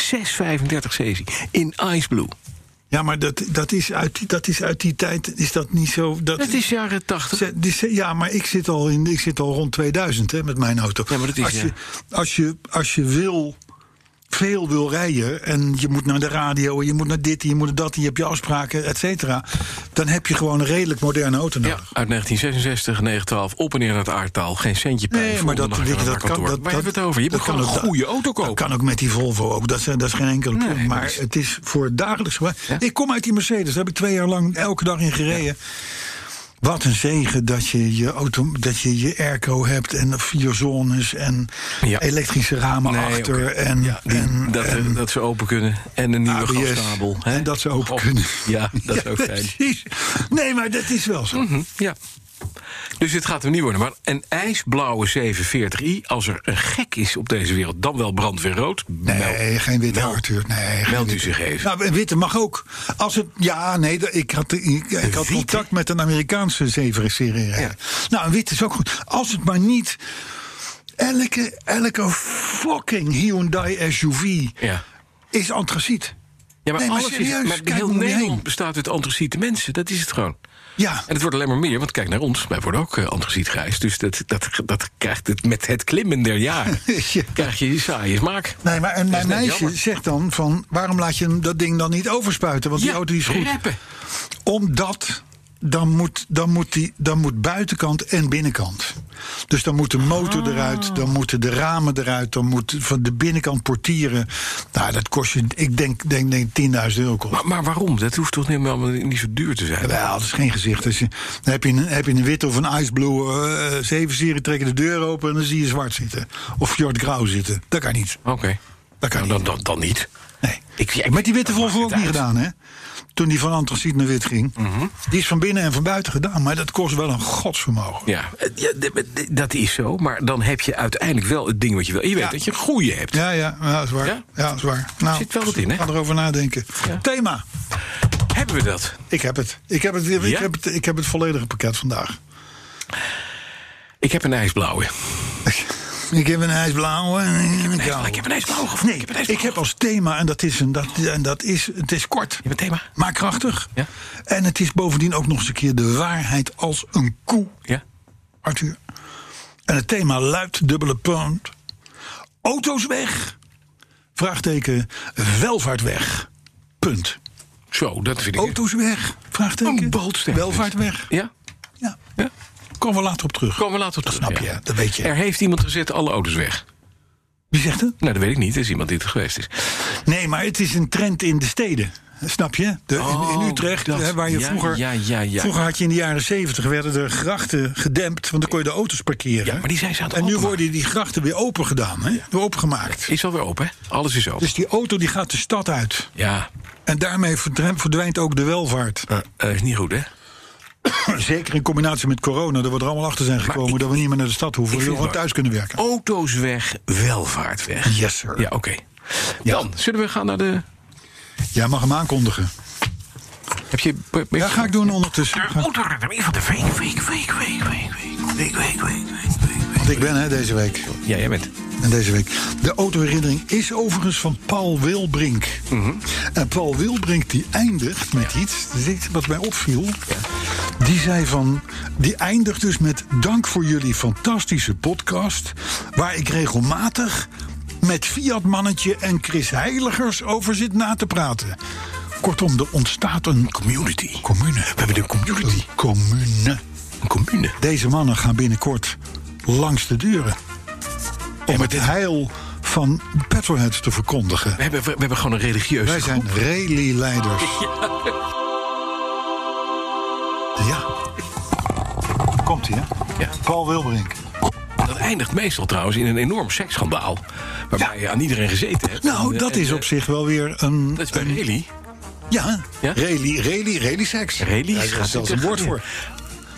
[SPEAKER 2] 635 cc. In Ice Blue.
[SPEAKER 3] Ja, maar dat, dat, is uit, die- dat is uit die tijd. Is dat niet zo. Dat,
[SPEAKER 2] Het is jaren 80.
[SPEAKER 3] ze- die ze- ja, maar ik zit al, in, ik zit al rond 2000 hè, met mijn auto.
[SPEAKER 2] Ja, maar dat is,
[SPEAKER 3] als, je,
[SPEAKER 2] ja.
[SPEAKER 3] als, je, als je wil veel wil rijden en je moet naar de radio, en je moet naar dit, en je moet naar dat, en je hebt je afspraken, et cetera, dan heb je gewoon een redelijk moderne auto
[SPEAKER 2] Ja,
[SPEAKER 3] nodig.
[SPEAKER 2] uit 1966, 912, op en neer naar het aardtaal. Geen centje pijn.
[SPEAKER 3] Nee,
[SPEAKER 2] voor
[SPEAKER 3] maar dat,
[SPEAKER 2] onderdak
[SPEAKER 3] weet je,
[SPEAKER 2] naar
[SPEAKER 3] dat
[SPEAKER 2] haar
[SPEAKER 3] kan.
[SPEAKER 2] kantoor.
[SPEAKER 3] Dat,
[SPEAKER 2] Waar hebben we het over? Je
[SPEAKER 3] dat
[SPEAKER 2] moet gewoon een
[SPEAKER 3] kan ook-
[SPEAKER 2] goede auto
[SPEAKER 3] Dat
[SPEAKER 2] kopen.
[SPEAKER 3] kan ook met die Volvo ook. Dat is, dat is geen enkele
[SPEAKER 2] Nee,
[SPEAKER 3] probleem. maar
[SPEAKER 2] dat is-
[SPEAKER 3] het is voor dagelijks gebruik. Ik kom uit die Mercedes. Daar heb ik twee jaar lang elke dag in gereden. Wat een zegen dat je je, auto, dat je je airco hebt en vier zones en
[SPEAKER 2] Ja.
[SPEAKER 3] elektrische ramen
[SPEAKER 2] Nee,
[SPEAKER 3] achter.
[SPEAKER 2] oké.
[SPEAKER 3] En,
[SPEAKER 2] Die-
[SPEAKER 3] en-
[SPEAKER 2] dat,
[SPEAKER 3] en-
[SPEAKER 2] dat ze open kunnen. En een nieuwe
[SPEAKER 3] ABS.
[SPEAKER 2] gaskabel. hè?
[SPEAKER 3] En dat ze open
[SPEAKER 2] Goh,
[SPEAKER 3] kunnen.
[SPEAKER 2] Ja, dat is
[SPEAKER 3] Ja,
[SPEAKER 2] ook fijn.
[SPEAKER 3] Precies. Nee, maar dat is wel zo.
[SPEAKER 2] Mhm, Ja. Dus dit gaat hem niet worden. Maar een ijsblauwe 740i, als er een gek is op deze wereld, dan wel brandweerrood.
[SPEAKER 3] Nee,
[SPEAKER 2] meld-
[SPEAKER 3] geen witte
[SPEAKER 2] meld-
[SPEAKER 3] Arthur. Nee, geen
[SPEAKER 2] Meldt u
[SPEAKER 3] witte.
[SPEAKER 2] zich even.
[SPEAKER 3] Nou, witte mag ook. Als het, ja, nee, da- ik had, ik, ik had
[SPEAKER 2] witte?
[SPEAKER 3] contact met een Amerikaanse zevenserie.
[SPEAKER 2] Ja.
[SPEAKER 3] Nou, een wit is ook goed. Als het maar niet. Elke, elke fucking Hyundai SUV
[SPEAKER 2] Ja.
[SPEAKER 3] is antraciet.
[SPEAKER 2] Ja, maar
[SPEAKER 3] Nee, maar
[SPEAKER 2] alles
[SPEAKER 3] serieus,
[SPEAKER 2] is, maar
[SPEAKER 3] kijk
[SPEAKER 2] heel
[SPEAKER 3] om je heen.
[SPEAKER 2] Nederland bestaat uit antraciete mensen. Dat is het gewoon.
[SPEAKER 3] Ja.
[SPEAKER 2] En het wordt alleen maar meer, want kijk naar ons. Wij worden ook eh, antraciet grijs. Dus dat, dat, dat krijgt het met het klimmen der jaren.
[SPEAKER 3] Ja. Nou,
[SPEAKER 2] Krijg je die saaie smaak.
[SPEAKER 3] Nee, maar en mijn
[SPEAKER 2] net
[SPEAKER 3] meisje
[SPEAKER 2] jammer.
[SPEAKER 3] zegt dan van... waarom laat je hem dat ding dan niet overspuiten? Want die auto die is goed.
[SPEAKER 2] Reppen.
[SPEAKER 3] Omdat dan moet, dan, moet die, dan moet buitenkant en binnenkant. Dus dan moet de motor eruit, dan moeten de ramen eruit, dan moet van de binnenkant portieren. Nou, dat kost je, ik denk, denk, denk 10.000 euro kost.
[SPEAKER 2] Maar, maar waarom? Dat hoeft toch helemaal niet zo duur te zijn?
[SPEAKER 3] Wel, dat is geen gezicht. Als je, dan heb je, een, heb je een wit of een ice blue eh, 7-serie, trekken de deur open en dan zie je zwart zitten. Of Jord Grauw zitten. Dat kan niet.
[SPEAKER 2] Oké.
[SPEAKER 3] Dat kan
[SPEAKER 2] Nou,
[SPEAKER 3] niet.
[SPEAKER 2] dan, dan, dan niet.
[SPEAKER 3] Nee.
[SPEAKER 2] Ik, ja, ik-
[SPEAKER 3] Met die witte
[SPEAKER 2] dat maakt
[SPEAKER 3] Volvo ook
[SPEAKER 2] het Mhm.
[SPEAKER 3] niet
[SPEAKER 2] uit.
[SPEAKER 3] gedaan, hè? Toen die van antraciet naar wit ging. Die is van binnen en van buiten gedaan, maar dat kost wel een godsvermogen.
[SPEAKER 2] Ja, eh, ja, d- d- d- dat is zo. Maar dan heb je uiteindelijk wel het ding wat je wil. Je weet dat je een goede hebt.
[SPEAKER 3] Ja, ja, ja, is waar.
[SPEAKER 2] Ja?
[SPEAKER 3] Ja, is waar. Nou,
[SPEAKER 2] Zit wel wat in, hè?
[SPEAKER 3] Ga erover nadenken. Thema.
[SPEAKER 2] Hebben we dat?
[SPEAKER 3] Ik heb het. Ik heb het, ik
[SPEAKER 2] Ja?
[SPEAKER 3] heb het. ik heb het volledige pakket vandaag.
[SPEAKER 2] Ik heb een ijsblauwe.
[SPEAKER 3] Ik heb een ijsblauwe en een
[SPEAKER 2] ijsblauwe.
[SPEAKER 3] koude.
[SPEAKER 2] Ik heb een ijsblauwe gevonden.
[SPEAKER 3] Nee,
[SPEAKER 2] Ik
[SPEAKER 3] ik
[SPEAKER 2] heb een
[SPEAKER 3] heb,
[SPEAKER 2] ijsblauwe
[SPEAKER 3] als thema, en dat is, een, dat, en dat is, het is kort,
[SPEAKER 2] Je hebt een thema?
[SPEAKER 3] maar krachtig.
[SPEAKER 2] Ja.
[SPEAKER 3] En het is bovendien ook nog eens een keer de waarheid als een koe.
[SPEAKER 2] Ja?
[SPEAKER 3] Arthur. En het thema luidt dubbele punt. Auto's weg. Vraagteken. Welvaart weg. Punt.
[SPEAKER 2] Zo, dat vind ik...
[SPEAKER 3] Auto's weg. Vraagteken.
[SPEAKER 2] Een boodschap.
[SPEAKER 3] Welvaart weg.
[SPEAKER 2] Ja?
[SPEAKER 3] Ja.
[SPEAKER 2] Ja?
[SPEAKER 3] Komen we later op terug.
[SPEAKER 2] Komen we later op terug.
[SPEAKER 3] snap je, dat weet je.
[SPEAKER 2] Er heeft iemand gezet alle auto's weg.
[SPEAKER 3] Wie zegt het?
[SPEAKER 2] Nou, dat weet ik niet. Er is iemand die het geweest is.
[SPEAKER 3] Nee, maar het is een trend in de steden. Snap je? De, in- in,
[SPEAKER 2] Oh,
[SPEAKER 3] Utrecht,
[SPEAKER 2] dat.
[SPEAKER 3] hè, waar je
[SPEAKER 2] Ja,
[SPEAKER 3] vroeger...
[SPEAKER 2] ja, ja, ja.
[SPEAKER 3] Vroeger had je in de jaren zeventig... werden de grachten gedempt, want dan kon je de auto's parkeren.
[SPEAKER 2] Ja, maar die zijn ze aan het
[SPEAKER 3] En nu
[SPEAKER 2] openmaken.
[SPEAKER 3] worden die grachten weer open gedaan. Hè? Weer opengemaakt.
[SPEAKER 2] Is alweer open, hè? Alles is open.
[SPEAKER 3] Dus die auto die gaat de stad uit.
[SPEAKER 2] Ja,
[SPEAKER 3] En daarmee verdwijnt verdwijnt ook de welvaart.
[SPEAKER 2] eh, eh, is niet goed, hè?
[SPEAKER 3] Zeker in combinatie met corona, dat we er allemaal achter zijn gekomen...
[SPEAKER 2] ik-
[SPEAKER 3] dat we niet meer naar de stad hoeven,
[SPEAKER 2] ik
[SPEAKER 3] dat
[SPEAKER 2] vind
[SPEAKER 3] we gewoon
[SPEAKER 2] het
[SPEAKER 3] thuis kunnen werken.
[SPEAKER 2] Auto's weg, welvaart weg.
[SPEAKER 3] Yes, sir.
[SPEAKER 2] Ja, oké. Dan, zullen we gaan naar de...
[SPEAKER 3] Jij mag hem aankondigen.
[SPEAKER 2] Heb je...
[SPEAKER 3] Ja, ga ik doen ondertussen.
[SPEAKER 2] De
[SPEAKER 3] Ga-
[SPEAKER 2] motorredder van de week, week, week, week, week, week, week, week, week, week, week.
[SPEAKER 3] Want ik ben hè, deze week.
[SPEAKER 2] Ja, jij bent.
[SPEAKER 3] En deze week. De autoherinnering is overigens van Paul Wilbrink. En Paul Wilbrink die eindigt met iets, dat is iets wat mij opviel. Die zei van, die eindigt dus met dank voor jullie fantastische podcast... waar ik regelmatig met Fiat Mannetje en Chris Heiligers over zit na te praten. Kortom, er ontstaat een community. Commune. We hebben een community. commune.
[SPEAKER 2] Een commune.
[SPEAKER 3] Deze mannen gaan binnenkort langs de deuren. Om het heil van petrolheads te verkondigen.
[SPEAKER 2] We hebben, we hebben gewoon een religieuze
[SPEAKER 3] Wij zijn
[SPEAKER 2] groep.
[SPEAKER 3] rally-leiders. Ja. Komt-ie, hè?
[SPEAKER 2] Ja.
[SPEAKER 3] Paul Wilbrink.
[SPEAKER 2] Dat eindigt meestal trouwens in een enorm seksschandaal. Waarbij je aan iedereen gezeten hebt. En,
[SPEAKER 3] Nou,
[SPEAKER 2] eh,
[SPEAKER 3] dat
[SPEAKER 2] en,
[SPEAKER 3] is
[SPEAKER 2] eh,
[SPEAKER 3] op zich wel weer een...
[SPEAKER 2] Dat is bij Rally.
[SPEAKER 3] Ja,
[SPEAKER 2] Ja?
[SPEAKER 3] rally, rally, rally-seks.
[SPEAKER 2] Rally
[SPEAKER 3] Daar
[SPEAKER 2] gaat
[SPEAKER 3] is zelfs een
[SPEAKER 2] niet
[SPEAKER 3] woord
[SPEAKER 2] tegen.
[SPEAKER 3] voor.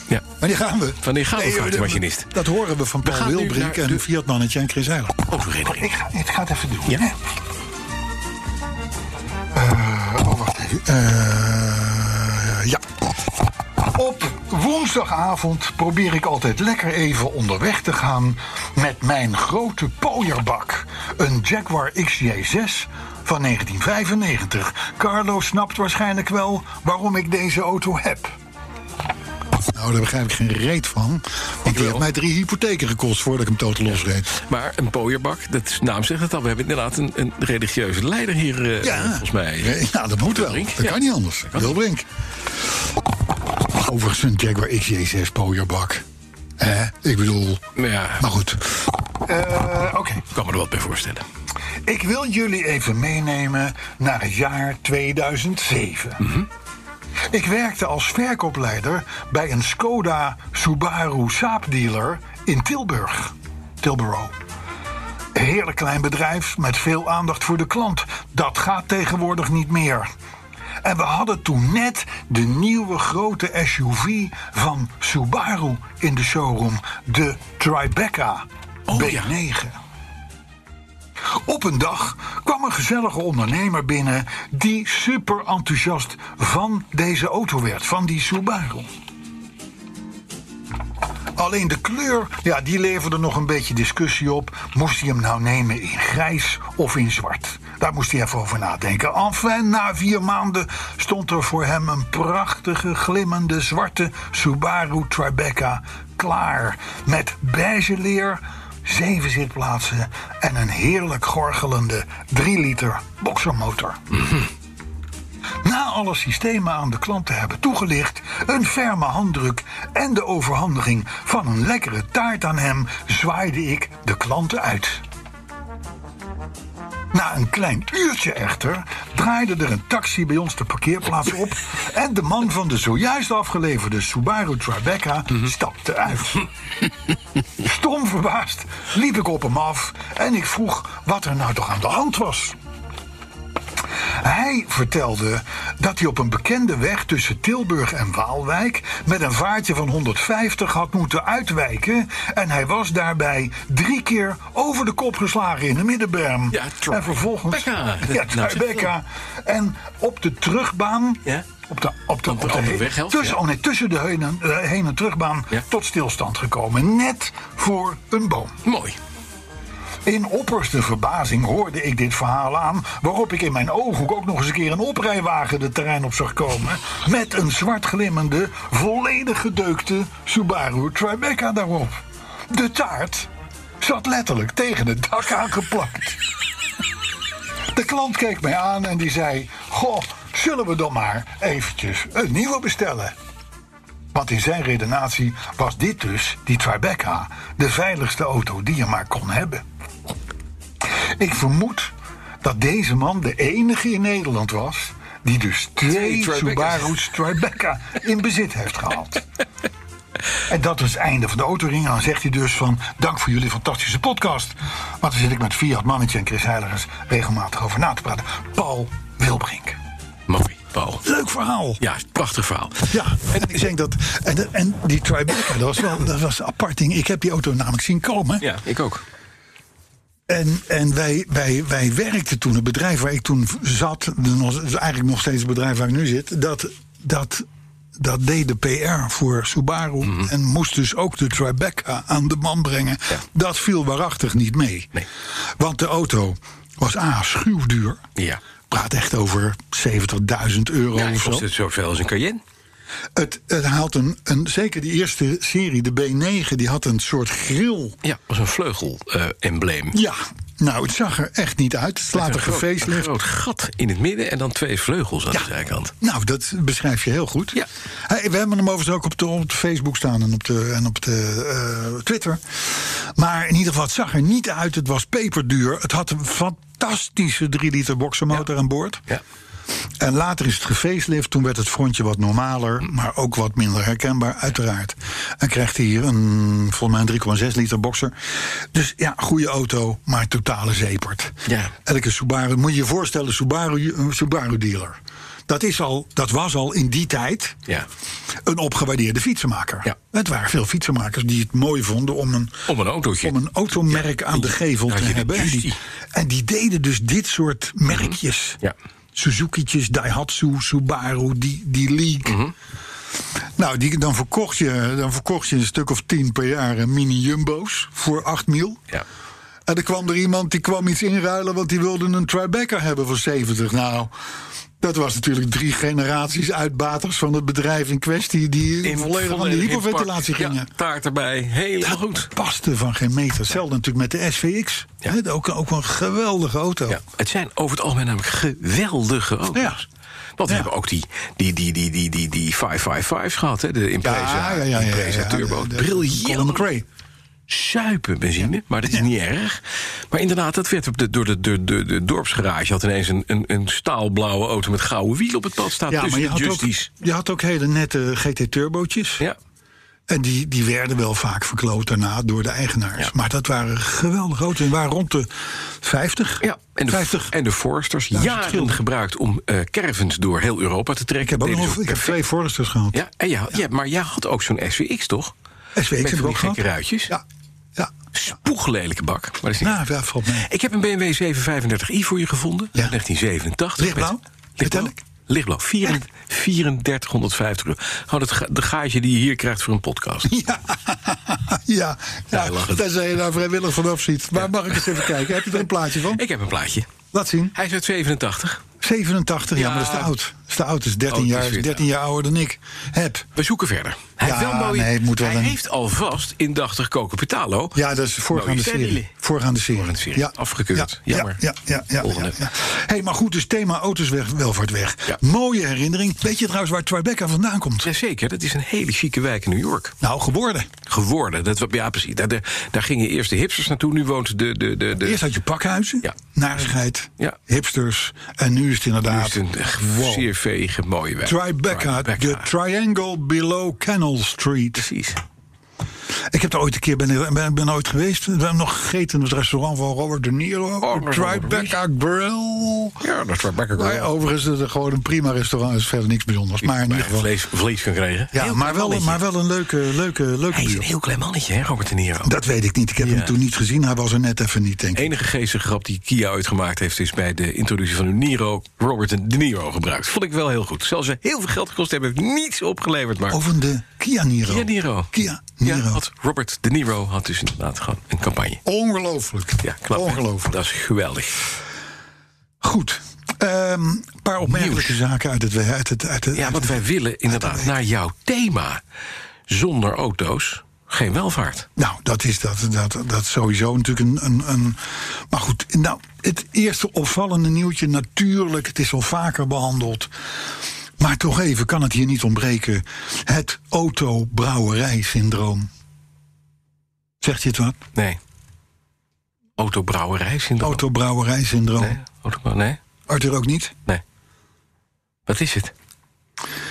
[SPEAKER 2] Ja.
[SPEAKER 3] Maar die gaan we.
[SPEAKER 2] Van die gaan we,
[SPEAKER 3] Nee,
[SPEAKER 2] vaatwasjenist.
[SPEAKER 3] Dat horen we van Paul
[SPEAKER 2] gaan nu
[SPEAKER 3] Wilbrink
[SPEAKER 2] naar
[SPEAKER 3] en
[SPEAKER 2] de-
[SPEAKER 3] Fiat Mannetje en Chris Heilig.
[SPEAKER 2] Oh, Autoherinnering.
[SPEAKER 3] ga, ik ga het even doen.
[SPEAKER 2] Ja.
[SPEAKER 3] hè. Eh, oh, wacht even. Eh, ja. Op woensdagavond probeer ik altijd lekker even onderweg te gaan met mijn grote pooierbak. Een Jaguar XJ6 van 1995. Carlo snapt waarschijnlijk wel waarom ik deze auto heb. Nou, daar begrijp ik geen reet van. Want die
[SPEAKER 2] wel.
[SPEAKER 3] heeft mij drie hypotheken gekost voordat ik hem tot losreed.
[SPEAKER 2] Maar een pooierbak, dat is- naam zegt het al. We hebben inderdaad een, een religieuze leider hier, eh, volgens mij.
[SPEAKER 3] Ja, dat moet wel.
[SPEAKER 2] Wilbrink,
[SPEAKER 3] Dat
[SPEAKER 2] ja.
[SPEAKER 3] kan niet anders. Wilbrink. Overigens een Jaguar XJ6 pooierbak. Hè? Ik bedoel,
[SPEAKER 2] Maar ja,
[SPEAKER 3] maar goed. Eh, Oké.
[SPEAKER 2] ik kan me er wat bij voorstellen.
[SPEAKER 3] Ik wil jullie even meenemen naar het jaar 2007. Ik werkte als verkoopleider bij een Skoda Subaru Saab dealer in Tilburg. Tilburg. Een heerlijk klein bedrijf met veel aandacht voor de klant. Dat gaat tegenwoordig niet meer. En we hadden toen net de nieuwe grote SUV van Subaru in de showroom. De Tribeca B9. Op een dag kwam een gezellige ondernemer binnen die super enthousiast van deze auto werd, van die Subaru. Alleen de kleur, ja, die leverde nog een beetje discussie op. Moest hij hem nou nemen in grijs of in zwart? Daar moest hij even over nadenken. Enfin, na vier maanden stond er voor hem een prachtige, glimmende zwarte Subaru Tribeca klaar. Met beige leer, zeven zitplaatsen en een heerlijk gorgelende 3 liter boxermotor na alle systemen aan de klant te hebben toegelicht, een ferme handdruk en de overhandiging van een lekkere taart aan hem, zwaaide ik de klanten uit. Na een klein uurtje echter draaide er een taxi bij ons de parkeerplaats op en de man van de zojuist afgeleverde Subaru Tribeca stapte uit. Stom verbaasd liep ik op hem af en ik vroeg wat er nou toch aan de hand was. Hij vertelde dat hij op een bekende weg tussen Tilburg en Waalwijk met een vaartje van 150 had moeten uitwijken. En hij was daarbij drie keer over de kop geslagen in de middenberm.
[SPEAKER 2] Ja, Troy
[SPEAKER 3] en vervolgens.
[SPEAKER 2] Becker.
[SPEAKER 3] Ja,
[SPEAKER 2] Nou,
[SPEAKER 3] Troy
[SPEAKER 2] zeg het
[SPEAKER 3] Becker. En op de terugbaan.
[SPEAKER 2] Ja.
[SPEAKER 3] Op de, op de,
[SPEAKER 2] Op de
[SPEAKER 3] op de-
[SPEAKER 2] andere weghelft,
[SPEAKER 3] tussen,
[SPEAKER 2] ja.
[SPEAKER 3] oh nee, tussen de heen en, eh, heen en terugbaan
[SPEAKER 2] Ja.
[SPEAKER 3] tot stilstand gekomen. Net voor een boom.
[SPEAKER 2] Mooi.
[SPEAKER 3] In opperste verbazing hoorde ik dit verhaal aan, waarop ik in mijn ooghoek ook nog eens een keer een oprijwagen de terrein op zag komen. Met een zwart glimmende, volledig gedeukte Subaru Tribeca daarop. De taart zat letterlijk tegen het dak aangeplakt. De klant keek mij aan en die zei: Goh, zullen we dan maar eventjes een nieuwe bestellen? Want in zijn redenatie was dit dus, die Tribeca, de veiligste auto die je maar kon hebben. Ik vermoed dat deze man de enige in Nederland was. die dus twee
[SPEAKER 2] Twee Tribeca's.
[SPEAKER 3] Subaru's Tribeca in bezit heeft gehaald. En dat is het einde van de autoring. En dan zegt hij dus van, dank voor jullie fantastische podcast. Want daar zit ik met Fiat Mannetje en Chris Heiligers regelmatig over na te praten. Paul Wilbrink.
[SPEAKER 2] Mooi, Paul.
[SPEAKER 3] Leuk verhaal.
[SPEAKER 2] Ja, prachtig verhaal.
[SPEAKER 3] Ja, en ik denk dat. En, en die Tribeca, dat was wel dat was een apart ding. Ik heb die auto namelijk zien komen.
[SPEAKER 2] Ja, ik ook.
[SPEAKER 3] En, en wij, wij, wij werkten toen, het bedrijf waar ik toen v- zat, de nog- eigenlijk nog steeds het bedrijf waar ik nu zit, dat, dat, dat deed de PR voor Subaru.
[SPEAKER 2] Mhm.
[SPEAKER 3] En moest dus ook de Tribeca aan de man brengen. Dat viel waarachtig niet mee.
[SPEAKER 2] Nee.
[SPEAKER 3] Want de auto was A, schuwduur.
[SPEAKER 2] Ja.
[SPEAKER 3] Praat echt over 70.000 euro
[SPEAKER 2] Ja,
[SPEAKER 3] of
[SPEAKER 2] ik
[SPEAKER 3] zo.
[SPEAKER 2] kost het zoveel als een Cayenne.
[SPEAKER 3] Het, het haalt een, een, zeker die eerste serie, de B9, die had een soort grill.
[SPEAKER 2] Ja, was een eh, vleugel-embleem.
[SPEAKER 3] Ja, nou, het zag er echt niet uit. Het is later
[SPEAKER 2] Een groot- Een
[SPEAKER 3] gefacelift.
[SPEAKER 2] groot gat in het midden en dan twee vleugels aan
[SPEAKER 3] Ja.
[SPEAKER 2] de zijkant.
[SPEAKER 3] Nou, dat beschrijf je heel goed.
[SPEAKER 2] Ja.
[SPEAKER 3] Hey, we hebben hem overigens ook op, de, op Facebook staan en op, de, en op de, eh, Twitter. Maar in ieder geval, het zag er niet uit. Het was peperduur. Het had een fantastische 3 liter boxermotor aan boord.
[SPEAKER 2] Ja.
[SPEAKER 3] En later is het gefacelift. Toen werd het frontje wat normaler, maar ook wat minder herkenbaar, uiteraard. En krijgt hij hier een, volgens mij een 3,6 liter boxer. Dus ja, goede auto, maar totale zeepert.
[SPEAKER 2] Ja.
[SPEAKER 3] Elke Subaru, moet je je voorstellen, Subaru, een Subaru dealer. Dat, is al, dat was al in die tijd
[SPEAKER 2] Ja.
[SPEAKER 3] een opgewaardeerde fietsenmaker.
[SPEAKER 2] Ja.
[SPEAKER 3] Het waren veel fietsenmakers die het mooi vonden om een,
[SPEAKER 2] Om een autootje.
[SPEAKER 3] om een automerk aan de gevel
[SPEAKER 2] Ja,
[SPEAKER 3] te
[SPEAKER 2] je de
[SPEAKER 3] hebben. En die,
[SPEAKER 2] Justy.
[SPEAKER 3] en die deden dus dit soort merkjes.
[SPEAKER 2] Ja.
[SPEAKER 3] Suzuki'tjes, Daihatsu, Subaru, die, die League.
[SPEAKER 2] Mhm.
[SPEAKER 3] Nou, die, dan, verkocht je, dan verkocht je een stuk of tien per jaar eh, mini-jumbo's voor 8 mil.
[SPEAKER 2] Ja.
[SPEAKER 3] En er kwam er iemand die kwam iets inruilen, want die wilde een Tribeca hebben van 70. Nou, Dat was natuurlijk drie generaties uitbaters van het bedrijf in kwestie... die
[SPEAKER 2] In-
[SPEAKER 3] volledig aan de
[SPEAKER 2] volledig in
[SPEAKER 3] hyperventilatie
[SPEAKER 2] pak. Ja,
[SPEAKER 3] gingen.
[SPEAKER 2] taart erbij, helemaal goed.
[SPEAKER 3] Paste van geen meter. Hetzelfde natuurlijk met de SVX.
[SPEAKER 2] Ja.
[SPEAKER 3] Hè, ook, ook een geweldige auto.
[SPEAKER 2] Ja, het zijn over het algemeen namelijk geweldige auto's.
[SPEAKER 3] Ja.
[SPEAKER 2] Want we
[SPEAKER 3] Ja.
[SPEAKER 2] hebben ook die, die, die, die, die, die, die 555's gehad, hè? de Impreza, Impreza Turbo.
[SPEAKER 3] de- de- Colin
[SPEAKER 2] Briljant
[SPEAKER 3] McRae.
[SPEAKER 2] suipen benzine, maar dat is niet erg. Maar inderdaad, dat werd op de, door de, de, de, de dorpsgarage... had ineens een, een, een staalblauwe auto met gouden wiel op het pad staan...
[SPEAKER 3] Ja, maar
[SPEAKER 2] tussen
[SPEAKER 3] je
[SPEAKER 2] de
[SPEAKER 3] had, ook,
[SPEAKER 2] Justies.
[SPEAKER 3] je had ook hele nette GT-turbootjes.
[SPEAKER 2] Ja.
[SPEAKER 3] En die, die werden wel vaak verkloot daarna door de eigenaars.
[SPEAKER 2] Ja.
[SPEAKER 3] Maar dat waren geweldige auto's. Die waren rond de 50.
[SPEAKER 2] Ja, en de,
[SPEAKER 3] 50.
[SPEAKER 2] en de Foresters,
[SPEAKER 3] Duizend
[SPEAKER 2] jaren
[SPEAKER 3] gulden.
[SPEAKER 2] gebruikt om eh caravans door heel Europa te trekken.
[SPEAKER 3] ik heb ook
[SPEAKER 2] Deden
[SPEAKER 3] nog
[SPEAKER 2] ze ook
[SPEAKER 3] ik heb
[SPEAKER 2] perfect.
[SPEAKER 3] twee Foresters gehad.
[SPEAKER 2] Ja, en ja, ja. maar jij had ook zo'n SVX, toch?
[SPEAKER 3] SVX
[SPEAKER 2] Met
[SPEAKER 3] heb ik
[SPEAKER 2] van
[SPEAKER 3] ook
[SPEAKER 2] die
[SPEAKER 3] gehad.
[SPEAKER 2] gekke ruitjes.
[SPEAKER 3] Ja, ja.
[SPEAKER 2] Spoeglelijke bak. Maar dat is niet
[SPEAKER 3] Nou, ja, valt mee.
[SPEAKER 2] Ik heb een BMW 735i voor je gevonden.
[SPEAKER 3] Ja.
[SPEAKER 2] 1987.
[SPEAKER 3] Lichtblauw?
[SPEAKER 2] Met- Lichtblauw.
[SPEAKER 3] Metallic?
[SPEAKER 2] Lichtblauw. Vier- 3450 euro. Gewoon het ga- de gaatje die je hier krijgt voor een podcast.
[SPEAKER 3] Ja, ja.
[SPEAKER 2] Ja,
[SPEAKER 3] ja,
[SPEAKER 2] hij lag het.
[SPEAKER 3] tenzij je daar vrijwillig van ziet. Maar mag ik eens even kijken? Heb je er een plaatje van?
[SPEAKER 2] Ik heb een plaatje.
[SPEAKER 3] Laat zien.
[SPEAKER 2] Hij is uit 87.
[SPEAKER 3] 87, ja,
[SPEAKER 2] Ja.
[SPEAKER 3] maar dat is te oud. Dat is te oud, dat is 13,
[SPEAKER 2] Oh, het is
[SPEAKER 3] jaar, is
[SPEAKER 2] weer
[SPEAKER 3] 13 jaar ouder dan ik heb.
[SPEAKER 2] We zoeken verder. Hij,
[SPEAKER 3] Ja,
[SPEAKER 2] heeft, wel mooie-
[SPEAKER 3] nee, het moet wel
[SPEAKER 2] hij
[SPEAKER 3] een-
[SPEAKER 2] heeft alvast indachtig koken Petalo.
[SPEAKER 3] Ja, dat is de voorgaande
[SPEAKER 2] Mooie
[SPEAKER 3] serie.
[SPEAKER 2] serie.
[SPEAKER 3] Voorgaande serie.
[SPEAKER 2] Nou, Voorgaande serie.
[SPEAKER 3] Ja.
[SPEAKER 2] Afgekeurd.
[SPEAKER 3] Ja.
[SPEAKER 2] Jammer.
[SPEAKER 3] Ja, ja, ja, ja,
[SPEAKER 2] Volgende.
[SPEAKER 3] ja. Hey, maar goed, dus thema auto's weg, welvaart weg.
[SPEAKER 2] Ja.
[SPEAKER 3] Mooie herinnering. Weet je trouwens waar Tribeca vandaan komt?
[SPEAKER 2] Jazeker, dat is een hele chique wijk in New York.
[SPEAKER 3] Nou, geworden.
[SPEAKER 2] Geworden. Dat, wa- ja, precies. Daar, daar- daar gingen eerst de hipsters naartoe. Nu woont de... de, de, de
[SPEAKER 3] Eerst had je pakhuizen,
[SPEAKER 2] Ja.
[SPEAKER 3] narigheid,
[SPEAKER 2] Ja.
[SPEAKER 3] hipsters. En nu is het inderdaad...
[SPEAKER 2] nu is het een echt
[SPEAKER 3] wow.
[SPEAKER 2] zeer veege, mooie wijk.
[SPEAKER 3] Tribeca, de Triangle Below Canal Street.
[SPEAKER 2] Precies.
[SPEAKER 3] Ik heb daar ooit een keer ben, ben, ben ooit geweest. We hebben nog gegeten in het restaurant van Robert De Niro.
[SPEAKER 2] Oh, dat is wel
[SPEAKER 3] Tribeca Grill.
[SPEAKER 2] Ja, dat is waar Becker
[SPEAKER 3] Maar overigens is het gewoon een prima restaurant. is verder niks bijzonders. Maar in ieder geval.
[SPEAKER 2] vlees, vlees kan krijgen.
[SPEAKER 3] Ja,
[SPEAKER 2] Heel
[SPEAKER 3] maar
[SPEAKER 2] klein
[SPEAKER 3] wel,
[SPEAKER 2] mannetje.
[SPEAKER 3] maar wel een leuke, leuke, leuke
[SPEAKER 2] Hij is een
[SPEAKER 3] buurt.
[SPEAKER 2] heel klein mannetje, hè, Robert De Niro.
[SPEAKER 3] Dat weet ik niet. Ik heb hem toen niet gezien. Hij was er net even niet, denk ik.
[SPEAKER 2] enige geestige grap die Kia uitgemaakt heeft... is bij de introductie van De Niro Robert De Niro gebruikt. Vond ik wel heel goed. Zelfs ze heel veel geld gekost hebben, heeft niets opgeleverd. Maar
[SPEAKER 3] Over de Kia Niro.
[SPEAKER 2] Kia Niro.
[SPEAKER 3] Kia
[SPEAKER 2] Ja,
[SPEAKER 3] Niro.
[SPEAKER 2] had Robert De Niro had dus inderdaad gewoon een campagne.
[SPEAKER 3] Ongelooflijk.
[SPEAKER 2] Ja, knap. hè?
[SPEAKER 3] Ongelooflijk.
[SPEAKER 2] Dat is geweldig.
[SPEAKER 3] Goed. Ehm, Een paar opmerkelijke zaken uit het... Uit het, uit het
[SPEAKER 2] Ja,
[SPEAKER 3] uit
[SPEAKER 2] want wij willen inderdaad naar jouw thema. Zonder auto's geen welvaart.
[SPEAKER 3] Nou, dat is dat, dat, dat is sowieso natuurlijk een, een, een. Maar goed, nou, het eerste opvallende nieuwtje, natuurlijk, het is al vaker behandeld. Maar toch even, kan het hier niet ontbreken? Het autobrouwerij-syndroom. Zegt je het wat?
[SPEAKER 2] Nee. Autobrouwerij syndroom.
[SPEAKER 3] Autobrouwerij-syndroom.
[SPEAKER 2] Nee, autobrouw- nee,
[SPEAKER 3] Arthur ook niet?
[SPEAKER 2] nee. Wat is het?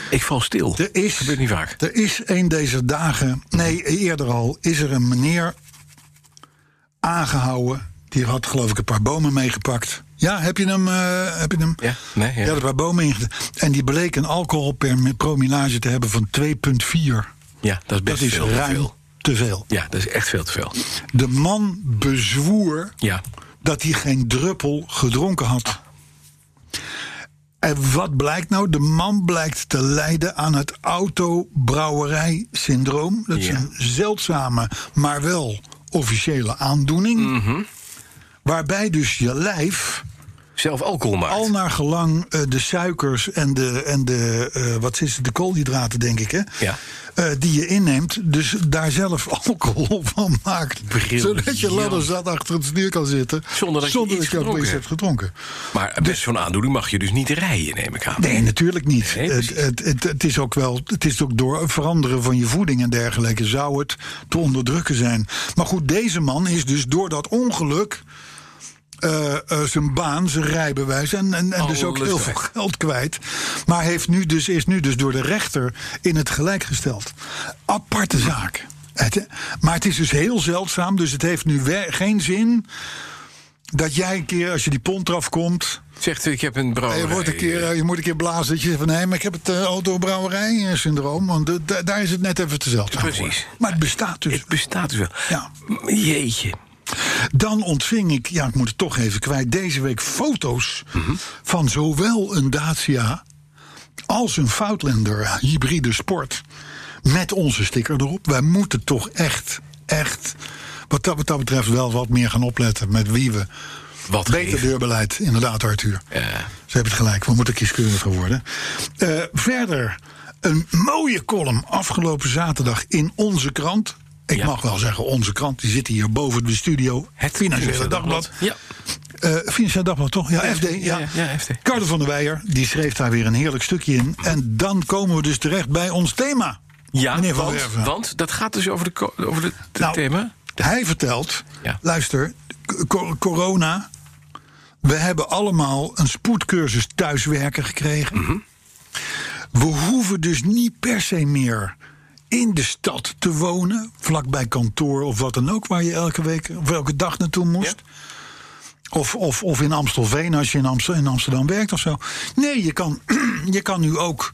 [SPEAKER 2] Ik val stil.
[SPEAKER 3] Er is,
[SPEAKER 2] gebeurt niet vaak.
[SPEAKER 3] Er is een deze dagen, nee, eerder al, is er een meneer aangehouden. Die had geloof ik een paar bomen meegepakt. Ja, heb je hem? eh, heb je hem?
[SPEAKER 2] Ja, nee, ja.
[SPEAKER 3] Ja, er waren bomen ingedaan. En die bleek een alcohol per promillage te hebben van 2,4.
[SPEAKER 2] Ja, dat is best
[SPEAKER 3] Dat is
[SPEAKER 2] veel. te
[SPEAKER 3] ruim
[SPEAKER 2] veel.
[SPEAKER 3] te veel.
[SPEAKER 2] Ja, dat is echt veel te veel.
[SPEAKER 3] De man bezwoer
[SPEAKER 2] Ja.
[SPEAKER 3] dat hij geen druppel gedronken had. En wat blijkt nou? De man blijkt te lijden aan het autobrouwerij-syndroom. Dat is
[SPEAKER 2] Ja.
[SPEAKER 3] een zeldzame, maar wel officiële aandoening.
[SPEAKER 2] Mhm.
[SPEAKER 3] Waarbij dus je lijf
[SPEAKER 2] Zelf alcohol maakt.
[SPEAKER 3] al naar gelang eh, de suikers en de, en de, eh, wat is het, de koolhydraten, denk ik, hè?
[SPEAKER 2] Ja.
[SPEAKER 3] Eh, die je inneemt, dus daar zelf alcohol van maakt.
[SPEAKER 2] Briljant.
[SPEAKER 3] Zodat je ladder zat achter het stuur kan zitten.
[SPEAKER 2] Zonder dat je iets
[SPEAKER 3] dat je opeens hebt gedronken.
[SPEAKER 2] maar met zo'n aandoening mag je dus niet rijden, neem ik aan.
[SPEAKER 3] Nee, natuurlijk niet.
[SPEAKER 2] Nee,
[SPEAKER 3] het,
[SPEAKER 2] precies.
[SPEAKER 3] het, het, het is ook wel, het is ook door het veranderen van je voeding en dergelijke zou het te onderdrukken zijn. Maar goed, deze man is dus door dat ongeluk eh, eh, zijn baan, zijn rijbewijs en, en, en dus ook
[SPEAKER 2] Alles
[SPEAKER 3] heel veel
[SPEAKER 2] kwijt.
[SPEAKER 3] geld kwijt. Maar heeft nu dus, is nu dus door de rechter in het gelijk gesteld. Aparte zaak. Het, maar het is dus heel zeldzaam, dus het heeft nu we- geen zin dat jij een keer, als je die pont eraf komt.
[SPEAKER 2] Zegt u, ik heb een
[SPEAKER 3] Ja,
[SPEAKER 2] brouwerij.
[SPEAKER 3] Je, wordt een keer, eh, je moet een keer blazen dat je zegt van... nee, maar ik heb het eh, autobrouwerij-syndroom. Want de- da- daar is het net even te zeldzaam voor.
[SPEAKER 2] Precies.
[SPEAKER 3] Maar het bestaat dus.
[SPEAKER 2] Het bestaat dus wel.
[SPEAKER 3] Ja.
[SPEAKER 2] Jeetje.
[SPEAKER 3] Dan ontving ik, ja, ik moet het toch even kwijt... deze week foto's
[SPEAKER 2] Mhm.
[SPEAKER 3] van zowel een Dacia... als een Foutlander hybride sport... met onze sticker erop. Wij moeten toch echt, echt... wat dat, wat dat betreft wel wat meer gaan opletten... met wie we
[SPEAKER 2] Wat
[SPEAKER 3] Beter dus.
[SPEAKER 2] geven.
[SPEAKER 3] deurbeleid, inderdaad, Arthur. Ze hebben het gelijk, we moeten kieskeuriger worden. Eh, verder, een mooie column afgelopen zaterdag in onze krant. Ik
[SPEAKER 2] Ja.
[SPEAKER 3] mag wel zeggen, onze krant, die zit hier boven de studio. Het Financiële Dagblad.
[SPEAKER 2] Ja.
[SPEAKER 3] Eh Financieel Dagblad, toch? Ja, FD. Ja,
[SPEAKER 2] ja, ja, FD.
[SPEAKER 3] Carlo van der Weijer, die schreef daar weer een heerlijk stukje in. En dan komen we dus terecht bij ons thema.
[SPEAKER 2] Ja,
[SPEAKER 3] Meneer Van
[SPEAKER 2] want,
[SPEAKER 3] Werven.
[SPEAKER 2] want dat gaat dus over de, ko- over de, de
[SPEAKER 3] Nou,
[SPEAKER 2] thema.
[SPEAKER 3] Hij vertelt,
[SPEAKER 2] Ja.
[SPEAKER 3] luister, c- co- corona. We hebben allemaal een spoedcursus thuiswerken gekregen. We hoeven dus niet per se meer in de stad te wonen, vlakbij kantoor of wat dan ook, waar je elke week of elke dag naartoe moest. Of, of, of in Amstelveen, als je in, Amstel, in Amsterdam werkt of zo. Nee, je kan, je kan nu ook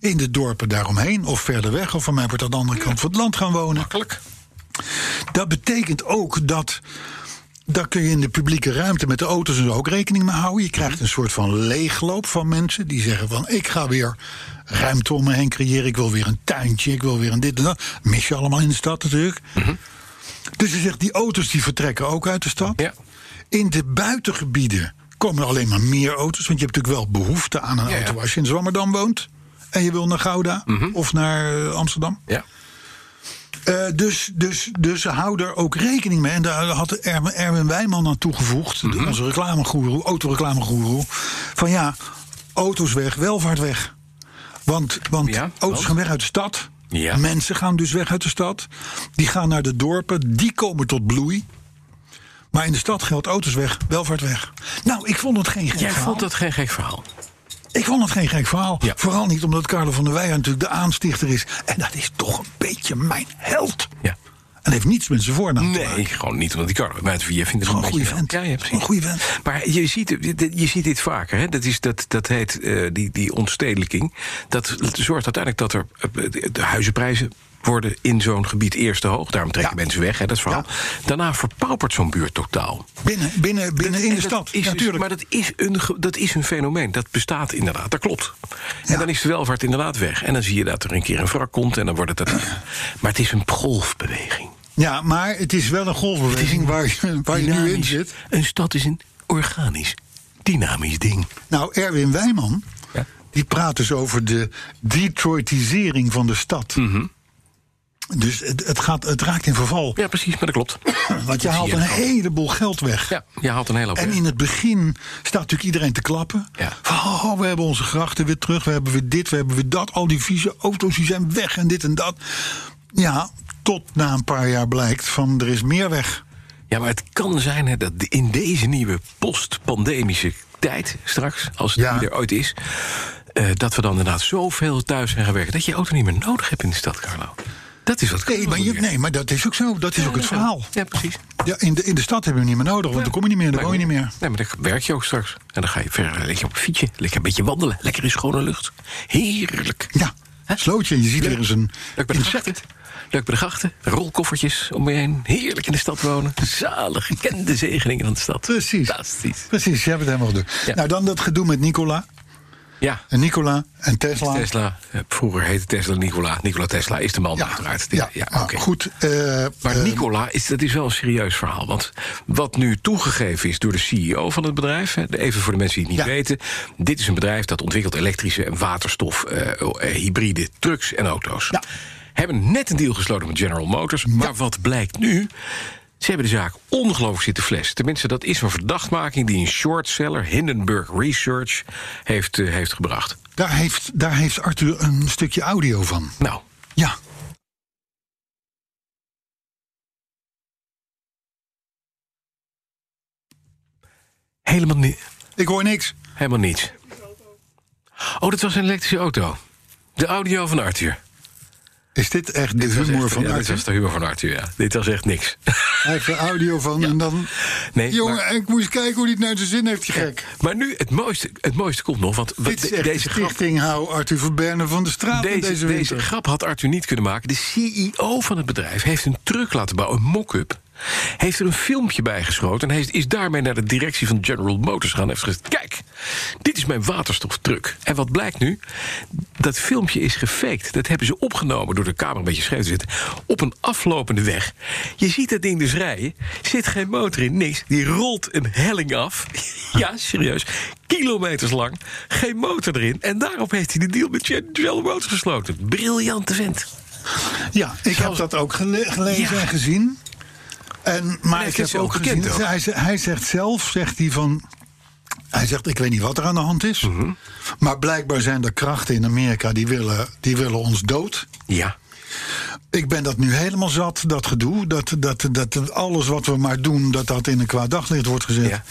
[SPEAKER 3] in de dorpen daaromheen of verder weg, of van mij wordt aan de andere kant van het land gaan wonen.
[SPEAKER 2] Makkelijk.
[SPEAKER 3] Dat betekent ook dat. Daar kun je in de publieke ruimte met de auto's en zo ook rekening mee houden. Je
[SPEAKER 2] Mhm.
[SPEAKER 3] krijgt een soort van leegloop van mensen die zeggen van... ik ga weer ruimte om me heen creëren, ik wil weer een tuintje... ik wil weer een dit en dat. Mis je allemaal in de stad natuurlijk.
[SPEAKER 2] Mhm.
[SPEAKER 3] Dus je zegt, die auto's die vertrekken ook uit de stad.
[SPEAKER 2] Ja.
[SPEAKER 3] In de buitengebieden komen er alleen maar meer auto's... want je hebt natuurlijk wel behoefte aan een
[SPEAKER 2] Ja, ja. Mhm.
[SPEAKER 3] auto Nou, als je in Zwammerdam woont... en je wil naar Gouda of naar eh, Amsterdam.
[SPEAKER 2] Ja.
[SPEAKER 3] Eh, dus, dus, dus hou daar ook rekening mee. En daar had Erwin, Erwin Wijman aan toegevoegd, de-
[SPEAKER 2] Mhm.
[SPEAKER 3] onze reclamegoeroe, autoreclamegoeroe. Van ja, auto's weg, welvaart weg. Want, want
[SPEAKER 2] Ja,
[SPEAKER 3] auto's
[SPEAKER 2] want?
[SPEAKER 3] gaan weg uit de stad.
[SPEAKER 2] Ja.
[SPEAKER 3] Mensen gaan dus weg uit de stad. Die gaan naar de dorpen, die komen tot bloei. Maar in de stad geldt auto's weg, welvaart weg. Nou, ik vond het geen gek
[SPEAKER 2] Jij
[SPEAKER 3] verhaal.
[SPEAKER 2] vond dat geen gek verhaal.
[SPEAKER 3] Ik vond het geen gek verhaal.
[SPEAKER 2] Ja.
[SPEAKER 3] Vooral niet omdat Carlo van der Weijer natuurlijk de aanstichter is. En dat is toch een beetje mijn held.
[SPEAKER 2] Ja.
[SPEAKER 3] En heeft niets met zijn voornaam te maken.
[SPEAKER 2] Nee, gewoon niet, want die Carlo uit Vier vindt het
[SPEAKER 3] Gewoon
[SPEAKER 2] een
[SPEAKER 3] een goede
[SPEAKER 2] beetje...
[SPEAKER 3] vent.
[SPEAKER 2] Ja, ja, precies.
[SPEAKER 3] Een goede vent.
[SPEAKER 2] Maar je ziet, je ziet dit vaker. Hè? Dat, is, dat, dat heet eh, die, die ontstedelijking. Dat zorgt uiteindelijk dat er eh, de huizenprijzen worden in zo'n gebied eerst te hoog. Daarom trekken mensen weg, hè, dat is verhaal. Daarna verpaupert zo'n buurt totaal.
[SPEAKER 3] Binnen, binnen, binnen in
[SPEAKER 2] En
[SPEAKER 3] de
[SPEAKER 2] dat
[SPEAKER 3] stad.
[SPEAKER 2] Is, dus-
[SPEAKER 3] natuurlijk.
[SPEAKER 2] Maar dat is, een, ge- dat is een fenomeen. Dat bestaat inderdaad, dat klopt. En dan is de welvaart inderdaad weg. En dan zie je dat er een keer een wrak komt en dan wordt het... Dat, maar het is een golfbeweging.
[SPEAKER 3] ja, maar het is wel een golfbeweging waar, je- waar je nu in
[SPEAKER 2] Dynamisch.
[SPEAKER 3] zit.
[SPEAKER 2] Een stad is een organisch, dynamisch ding.
[SPEAKER 3] Nou, Erwin Wijman,
[SPEAKER 2] Ja.
[SPEAKER 3] die praat dus over de Detroitisering van de stad.
[SPEAKER 2] Mhm.
[SPEAKER 3] Dus het, het, gaat, het raakt in verval.
[SPEAKER 2] Ja, precies, maar dat klopt.
[SPEAKER 3] Want je
[SPEAKER 2] zie
[SPEAKER 3] haalt
[SPEAKER 2] je
[SPEAKER 3] een
[SPEAKER 2] ook.
[SPEAKER 3] heleboel geld weg.
[SPEAKER 2] Ja, je haalt een hele hoop.
[SPEAKER 3] En
[SPEAKER 2] weg.
[SPEAKER 3] in het begin staat natuurlijk iedereen te klappen.
[SPEAKER 2] Ja.
[SPEAKER 3] Van, oh, we hebben onze grachten weer terug, we hebben weer dit, we hebben weer dat. Al die vieze auto's die zijn weg en dit en dat. Ja, tot na een paar jaar blijkt van er is meer weg.
[SPEAKER 2] Ja, maar het kan zijn hè, dat in deze nieuwe post-pandemische tijd, straks, als het
[SPEAKER 3] Ja.
[SPEAKER 2] die er ooit is, eh, dat we dan inderdaad zoveel thuis zijn gaan werken dat je je auto niet meer nodig hebt in de stad, Carlo. Dat is wat
[SPEAKER 3] Nee,
[SPEAKER 2] Carlo
[SPEAKER 3] maar, je-
[SPEAKER 2] doet.
[SPEAKER 3] nee, maar dat is ook zo. Dat is ook het verhaal.
[SPEAKER 2] Ja, precies.
[SPEAKER 3] Ja, in, de, in de stad hebben we hem niet meer nodig, want dan kom je niet meer, dan woon je niet meer.
[SPEAKER 2] Nee, maar dan werk je ook straks. En dan ga je verder, lig je op een fietsje, lekker een beetje wandelen, lekker in schone lucht. Heerlijk.
[SPEAKER 3] Ja,
[SPEAKER 2] Hè?
[SPEAKER 3] slootje. Je ziet weer eens een
[SPEAKER 2] Leuk bij de grachten.
[SPEAKER 3] insect.
[SPEAKER 2] Leuk bij de grachten. Rolkoffertjes om je heen. Heerlijk in de stad wonen. Zalig. Ken de zegeningen van de stad.
[SPEAKER 3] Precies.
[SPEAKER 2] Fantastisch.
[SPEAKER 3] Precies, je hebt het helemaal gedoe.
[SPEAKER 2] Ja.
[SPEAKER 3] Nou, dan dat gedoe met Nicola.
[SPEAKER 2] Ja.
[SPEAKER 3] En Nicola en Tesla.
[SPEAKER 2] Tesla. eh, Vroeger heette Tesla Nikola. Nikola Tesla is de man uiteraard.
[SPEAKER 3] ja, maar
[SPEAKER 2] oké.
[SPEAKER 3] goed. eh,
[SPEAKER 2] Maar
[SPEAKER 3] eh,
[SPEAKER 2] Nicola, is, dat is wel een serieus verhaal. Want wat nu toegegeven is door de CEO van het bedrijf... hè, even voor de mensen die het niet
[SPEAKER 3] Ja.
[SPEAKER 2] weten... dit is een bedrijf dat ontwikkelt elektrische en waterstof... eh, eh, hybride trucks en auto's.
[SPEAKER 3] Ja.
[SPEAKER 2] Hebben net een deal gesloten met General Motors. Maar wat blijkt nu... Ze hebben de zaak ongelooflijk zitten flessen. Tenminste, dat is een verdachtmaking die een shortseller... Hindenburg Research heeft, eh, heeft gebracht.
[SPEAKER 3] daar, heeft, daar heeft Arthur een stukje audio van.
[SPEAKER 2] Nou,
[SPEAKER 3] Ja.
[SPEAKER 2] helemaal, ni-
[SPEAKER 3] Ik hoor niks.
[SPEAKER 2] helemaal niets. Oh, dat was een elektrische auto. De audio van Arthur.
[SPEAKER 3] Is dit echt de
[SPEAKER 2] was
[SPEAKER 3] humor
[SPEAKER 2] echt-
[SPEAKER 3] van
[SPEAKER 2] ja, Dit
[SPEAKER 3] Arthur?
[SPEAKER 2] was de humor van Arthur, ja. Dit was echt niks.
[SPEAKER 3] Hij heeft de audio van en dan...
[SPEAKER 2] Nee,
[SPEAKER 3] Jongen,
[SPEAKER 2] maar-
[SPEAKER 3] ik moest kijken hoe hij het naar zijn zin heeft, je gek.
[SPEAKER 2] Maar nu, het mooiste, het mooiste komt nog. Want
[SPEAKER 3] Dit
[SPEAKER 2] de-
[SPEAKER 3] is echt deze
[SPEAKER 2] deze, grap,
[SPEAKER 3] stichting Hou Arthur Verberne van de Straat
[SPEAKER 2] deze,
[SPEAKER 3] in deze
[SPEAKER 2] deze
[SPEAKER 3] winter.
[SPEAKER 2] E grap had Arthur niet kunnen maken. De CEO van het bedrijf heeft een truck laten bouwen, een mock-up. Heeft er een filmpje bij geschoten en heeft, is daarmee naar de directie van General Motors gegaan. En heeft gezegd: Kijk, dit is mijn waterstoftruck. En wat blijkt nu? Dat filmpje is gefaked. Dat hebben ze opgenomen door de camera een beetje scheef te zitten. Op een aflopende weg. Je ziet dat ding dus rijden. Zit geen motor in, niks. Die rolt een helling af. ja, serieus. Kilometers lang. Geen motor erin. En daarop heeft hij de deal met General Motors gesloten. Briljante vent.
[SPEAKER 3] Ja, ik
[SPEAKER 2] Zelfs-
[SPEAKER 3] heb dat ook gele- gelezen
[SPEAKER 2] Ja.
[SPEAKER 3] en gezien. En, maar
[SPEAKER 2] het
[SPEAKER 3] ik
[SPEAKER 2] is
[SPEAKER 3] heb
[SPEAKER 2] ook
[SPEAKER 3] ook
[SPEAKER 2] bekend
[SPEAKER 3] gezien,
[SPEAKER 2] ook.
[SPEAKER 3] Hij, ze- hij zegt zelf, zegt hij van... Hij zegt, ik weet niet wat er aan de hand is.
[SPEAKER 2] Mhm.
[SPEAKER 3] Maar blijkbaar zijn er krachten in Amerika die willen, die willen ons dood.
[SPEAKER 2] Ja.
[SPEAKER 3] Ik ben dat nu helemaal zat, dat gedoe. Dat, dat, dat alles wat we maar doen, dat dat in een kwaad daglicht wordt gezet.
[SPEAKER 2] Ja.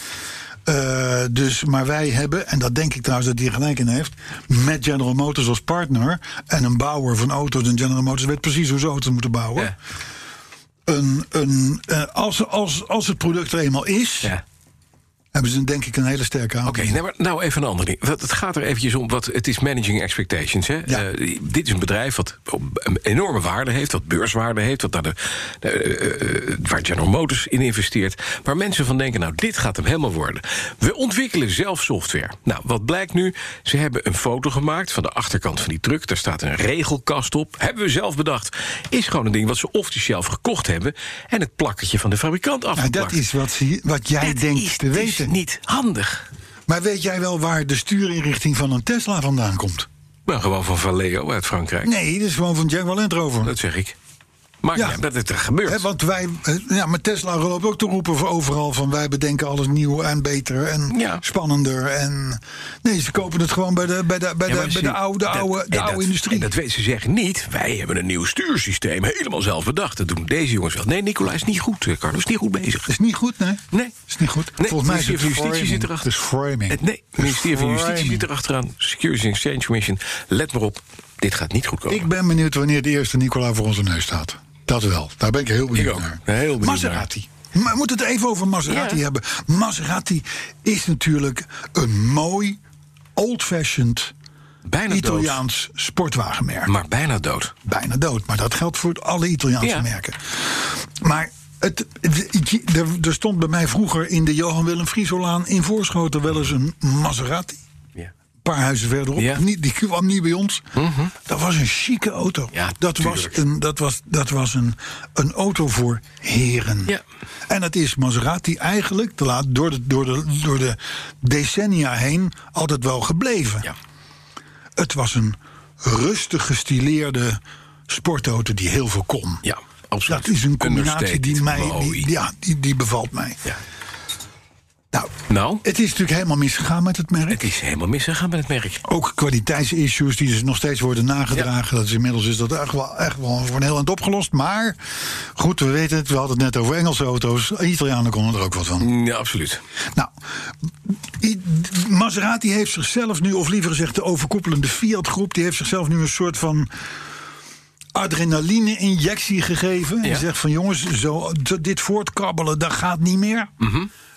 [SPEAKER 3] Eh, dus, maar wij hebben, en dat denk ik trouwens dat hij er gelijk in heeft... met General Motors als partner en een bouwer van auto's... en General Motors weet precies hoe ze auto's moeten bouwen.
[SPEAKER 2] Ja.
[SPEAKER 3] Een, een, eh, als, als, als het product er eenmaal is,
[SPEAKER 2] ja.
[SPEAKER 3] hebben ze denk ik een hele sterke aanpak.
[SPEAKER 2] Oké, nou, maar nou even een ander ding. Want Het gaat er eventjes om, wat, het is managing expectations. Hè?
[SPEAKER 3] Ja.
[SPEAKER 2] Eh, dit is een bedrijf wat een enorme waarde heeft, wat beurswaarde heeft... Wat naar de, eh, eh, waar General Motors in investeert. Waar mensen van denken, nou, dit gaat hem helemaal worden. We ontwikkelen zelf software. Nou, wat blijkt nu? Ze hebben een foto gemaakt van de achterkant van die truck. Daar staat een regelkast op. Hebben we zelf bedacht. Is gewoon een ding wat ze off-the-shelf gekocht hebben... en het plakketje van de fabrikant
[SPEAKER 3] Nou,
[SPEAKER 2] afgeplakt.
[SPEAKER 3] dat is wat, ze- wat jij
[SPEAKER 2] Dat
[SPEAKER 3] denkt
[SPEAKER 2] is
[SPEAKER 3] te
[SPEAKER 2] dus
[SPEAKER 3] weten.
[SPEAKER 2] niet handig.
[SPEAKER 3] Maar weet jij wel waar de stuurinrichting van een Tesla vandaan komt?
[SPEAKER 2] Nou, gewoon van Valeo uit Frankrijk.
[SPEAKER 3] Nee, dat is gewoon van Jaguar Land Rover.
[SPEAKER 2] Dat zeg ik. Maar
[SPEAKER 3] Ja.
[SPEAKER 2] ja. dat het er gebeurt.
[SPEAKER 3] Hè, want wij, eh, ja, maar Tesla loopt ook te roepen voor overal van wij bedenken alles nieuw en beter en
[SPEAKER 2] Ja.
[SPEAKER 3] spannender. En nee, ze kopen het gewoon bij de, bij de, bij
[SPEAKER 2] Ja, maar
[SPEAKER 3] de, bij
[SPEAKER 2] zie-
[SPEAKER 3] eh, de oude,
[SPEAKER 2] dat-
[SPEAKER 3] oude, de
[SPEAKER 2] en
[SPEAKER 3] oude
[SPEAKER 2] dat-
[SPEAKER 3] industrie.
[SPEAKER 2] En dat weten ze zeggen niet. Wij hebben een nieuw stuursysteem helemaal zelf bedacht. Dat doen deze jongens wel. Nee, Nicola is niet goed, eh, Carlo. Is niet goed bezig.
[SPEAKER 3] is niet goed, nee?
[SPEAKER 2] Nee.
[SPEAKER 3] Is niet goed.
[SPEAKER 2] Nee,
[SPEAKER 3] Volgens mij
[SPEAKER 2] het ministerie van Justitie
[SPEAKER 3] framing.
[SPEAKER 2] zit erachter.
[SPEAKER 3] Het is framing.
[SPEAKER 2] Het, nee,
[SPEAKER 3] Het
[SPEAKER 2] het
[SPEAKER 3] is
[SPEAKER 2] ministerie van Justitie
[SPEAKER 3] framing.
[SPEAKER 2] zit erachteraan. Security and Exchange Commission. Let maar op. Dit gaat niet goed komen.
[SPEAKER 3] Ik ben benieuwd wanneer de eerste Nicola voor onze neus staat. Dat wel. Daar ben ik heel benieuwd
[SPEAKER 2] Ik ook.
[SPEAKER 3] naar.
[SPEAKER 2] Heel benieuwd naar.
[SPEAKER 3] Maserati. Maar we moeten het even over Maserati
[SPEAKER 2] Ja.
[SPEAKER 3] hebben. Maserati is natuurlijk een mooi, old-fashioned
[SPEAKER 2] bijna dood.
[SPEAKER 3] Italiaans sportwagenmerk.
[SPEAKER 2] Maar bijna dood.
[SPEAKER 3] Bijna dood. Maar dat geldt voor alle Italiaanse
[SPEAKER 2] Ja.
[SPEAKER 3] merken. Maar het, het- er, er stond bij mij vroeger in de Johan Willem Friesolaan in Voorschoten wel eens een Maserati.
[SPEAKER 2] Ja.
[SPEAKER 3] Een paar huizen verderop.
[SPEAKER 2] Ja. Mhm.
[SPEAKER 3] Niet, die kwam niet bij ons. Dat was een chique auto.
[SPEAKER 2] Ja,
[SPEAKER 3] dat, was
[SPEAKER 2] tuurlijk.
[SPEAKER 3] een, dat was, dat was een, een auto voor heren.
[SPEAKER 2] Ja.
[SPEAKER 3] En dat is Maserati eigenlijk te laat, door, de, door, de, door de decennia heen altijd wel gebleven.
[SPEAKER 2] Ja.
[SPEAKER 3] Het was een rustig gestileerde sportauto die heel veel kon.
[SPEAKER 2] Ja, absoluut.
[SPEAKER 3] Dat is een combinatie die, mij,
[SPEAKER 2] Understated,
[SPEAKER 3] die,
[SPEAKER 2] mooi.
[SPEAKER 3] ja, die, die bevalt mij.
[SPEAKER 2] Ja.
[SPEAKER 3] Nou,
[SPEAKER 2] Nou,
[SPEAKER 3] het is natuurlijk helemaal misgegaan met het merk.
[SPEAKER 2] het is helemaal misgegaan met het merk.
[SPEAKER 3] Ook kwaliteitsissues die dus nog steeds worden nagedragen. Dat is inmiddels is dat echt wel, echt wel voor een heel eind opgelost. Maar goed, we weten het. We hadden het net over Engelse auto's. Italianen konden er ook wat van.
[SPEAKER 2] Ja, absoluut.
[SPEAKER 3] Nou, I- Maserati heeft zichzelf nu, of liever gezegd de overkoepelende Fiat-groep... die heeft zichzelf nu een soort van adrenaline-injectie gegeven.
[SPEAKER 2] Ja.
[SPEAKER 3] En zegt van jongens, zo, d- dit voortkabbelen, dat gaat niet meer.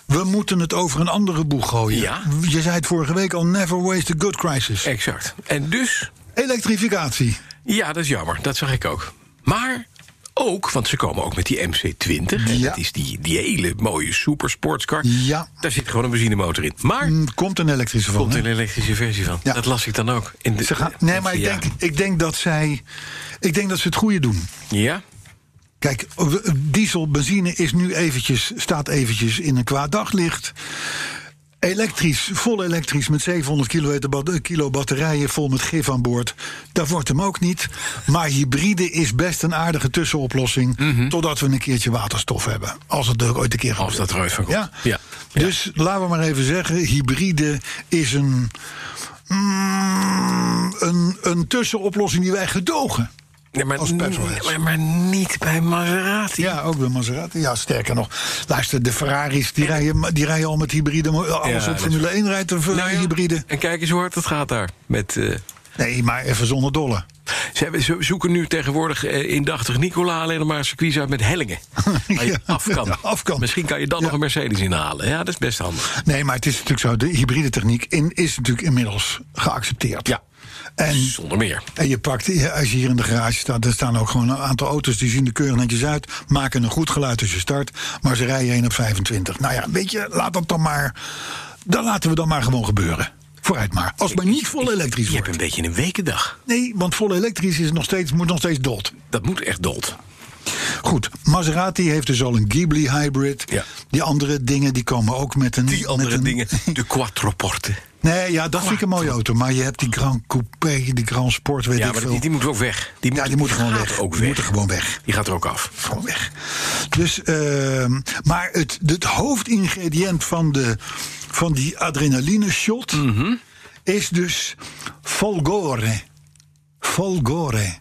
[SPEAKER 3] We moeten het over een andere boeg gooien.
[SPEAKER 2] Mhm. Ja. Eh.
[SPEAKER 3] Je zei het vorige week al, never waste a good crisis.
[SPEAKER 2] Exact. En dus
[SPEAKER 3] Elektrificatie.
[SPEAKER 2] Ja, dat is jammer. Dat zag ik ook. Maar ook, want ze komen ook met die MC20. En
[SPEAKER 3] Ja.
[SPEAKER 2] dat is die, die hele mooie supersportscar.
[SPEAKER 3] Ja.
[SPEAKER 2] Daar zit gewoon een benzinemotor in. Maar er
[SPEAKER 3] Mm, Komt een elektrische van.
[SPEAKER 2] komt
[SPEAKER 3] hè?
[SPEAKER 2] een elektrische versie van.
[SPEAKER 3] Ja.
[SPEAKER 2] Dat las ik dan ook. In de,
[SPEAKER 3] Ze gaan, nee,
[SPEAKER 2] eh,
[SPEAKER 3] maar ik
[SPEAKER 2] ja.
[SPEAKER 3] denk, ik denk dat zij. Ik denk dat ze het goede doen.
[SPEAKER 2] Ja?
[SPEAKER 3] Kijk, we- diesel, benzine is nu eventjes, staat eventjes in een kwaad daglicht. Elektrisch, vol elektrisch met 700 kilometer bat- eh, kilo batterijen vol met gif aan boord. Dat wordt hem ook niet. Maar hybride is best een aardige tussenoplossing. Totdat we een keertje waterstof hebben. Als het er ooit een keer
[SPEAKER 2] Mhm. Als dat er ooit van komt.
[SPEAKER 3] Ja?
[SPEAKER 2] Ja.
[SPEAKER 3] Dus laten we maar even zeggen: hybride is een, mm, een, een tussenoplossing die wij gedogen.
[SPEAKER 2] Nee, maar,
[SPEAKER 3] Als petrolheads.
[SPEAKER 2] maar, maar niet bij Maserati.
[SPEAKER 3] Ja, ook bij Maserati. Ja, sterker nog. Luister, de Ferraris die rijden, die rijden al met hybride. mo- eh, Alles
[SPEAKER 2] Ja, dat
[SPEAKER 3] op
[SPEAKER 2] Nou
[SPEAKER 3] Formule 1 rijdt een Ferrari
[SPEAKER 2] ja.
[SPEAKER 3] hybride.
[SPEAKER 2] En kijk eens hoe hard dat gaat daar. Met, eh,
[SPEAKER 3] Nee, maar even zonder dolle.
[SPEAKER 2] Ze, hebben- ze zoeken nu tegenwoordig eh, indachtig Nicola alleen nog maar een circuit uit met hellingen. Waar je
[SPEAKER 3] Ja,
[SPEAKER 2] af, kan.
[SPEAKER 3] ja, af kan.
[SPEAKER 2] Misschien kan je dan
[SPEAKER 3] Ja.
[SPEAKER 2] nog een Mercedes inhalen. Ja, dat is best handig.
[SPEAKER 3] Nee, maar het is natuurlijk zo. De hybride techniek in, is natuurlijk inmiddels geaccepteerd.
[SPEAKER 2] Ja.
[SPEAKER 3] En
[SPEAKER 2] Zonder meer.
[SPEAKER 3] En je pakt, ja, als je hier in de garage staat, er staan ook gewoon een aantal auto's die zien er keurig netjes uit, maken een goed geluid als je start, maar ze rijden 1 op 25. Nou ja, weet je, laat dat dan maar, dat laten we dan maar gewoon gebeuren. Vooruit maar. Als het maar niet vol elektrisch
[SPEAKER 2] Je hebt een
[SPEAKER 3] wordt.
[SPEAKER 2] beetje een wekendag.
[SPEAKER 3] Nee, want vol elektrisch is nog steeds, moet nog steeds dood.
[SPEAKER 2] Dat moet echt dood.
[SPEAKER 3] Goed, Maserati heeft dus al een Ghibli hybrid.
[SPEAKER 2] Ja.
[SPEAKER 3] Die andere dingen die komen ook met een...
[SPEAKER 2] Die andere
[SPEAKER 3] met een-
[SPEAKER 2] dingen. De quattroporte.
[SPEAKER 3] Nee, ja, dat vind ik een mooie auto. Maar je hebt die Grand Coupé, die Grand Sport, weet
[SPEAKER 2] Ja,
[SPEAKER 3] ik
[SPEAKER 2] maar
[SPEAKER 3] veel.
[SPEAKER 2] die, die moet ook weg. Die moet,
[SPEAKER 3] ja, die moeten gewoon
[SPEAKER 2] gaat
[SPEAKER 3] weg.
[SPEAKER 2] Ook
[SPEAKER 3] Die
[SPEAKER 2] weg.
[SPEAKER 3] moeten gewoon weg.
[SPEAKER 2] Die gaat er ook af.
[SPEAKER 3] gewoon weg. Dus, ehm, maar het, het hoofdingrediënt van, de, van die adrenaline shot
[SPEAKER 2] Mhm.
[SPEAKER 3] is dus Folgore. Folgore.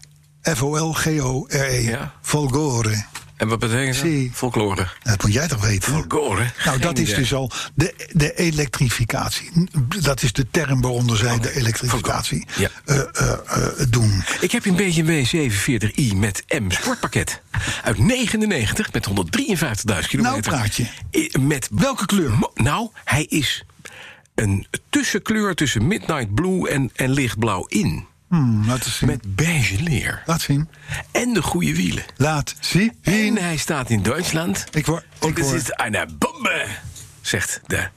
[SPEAKER 3] F-O-L-G-O-R-E.
[SPEAKER 2] Ja.
[SPEAKER 3] E. Folgore.
[SPEAKER 2] En wat betekent
[SPEAKER 3] Zie.
[SPEAKER 2] dat? Folklore.
[SPEAKER 3] Dat moet jij toch weten?
[SPEAKER 2] Folklore.
[SPEAKER 3] Nou, dat is dus al de, de elektrificatie. Dat is de term waaronder zij de elektrificatie
[SPEAKER 2] Ja.
[SPEAKER 3] eh, eh, eh, doen.
[SPEAKER 2] Ik heb een BMW 740i met M sportpakket. Uit 99 met 153.000 kilometer.
[SPEAKER 3] praat je.
[SPEAKER 2] I- Met
[SPEAKER 3] Nou, Welke kleur?
[SPEAKER 2] Mo- Nou, hij is een tussenkleur tussen midnight blue en, en lichtblauw in.
[SPEAKER 3] Hmm, laat eens zien.
[SPEAKER 2] Met beige leer.
[SPEAKER 3] Laat zien.
[SPEAKER 2] En de goede wielen.
[SPEAKER 3] Laat zien.
[SPEAKER 2] En hij staat in Duitsland.
[SPEAKER 3] Ik word... Ik
[SPEAKER 2] Dit
[SPEAKER 3] word
[SPEAKER 2] is een bombe, zegt de...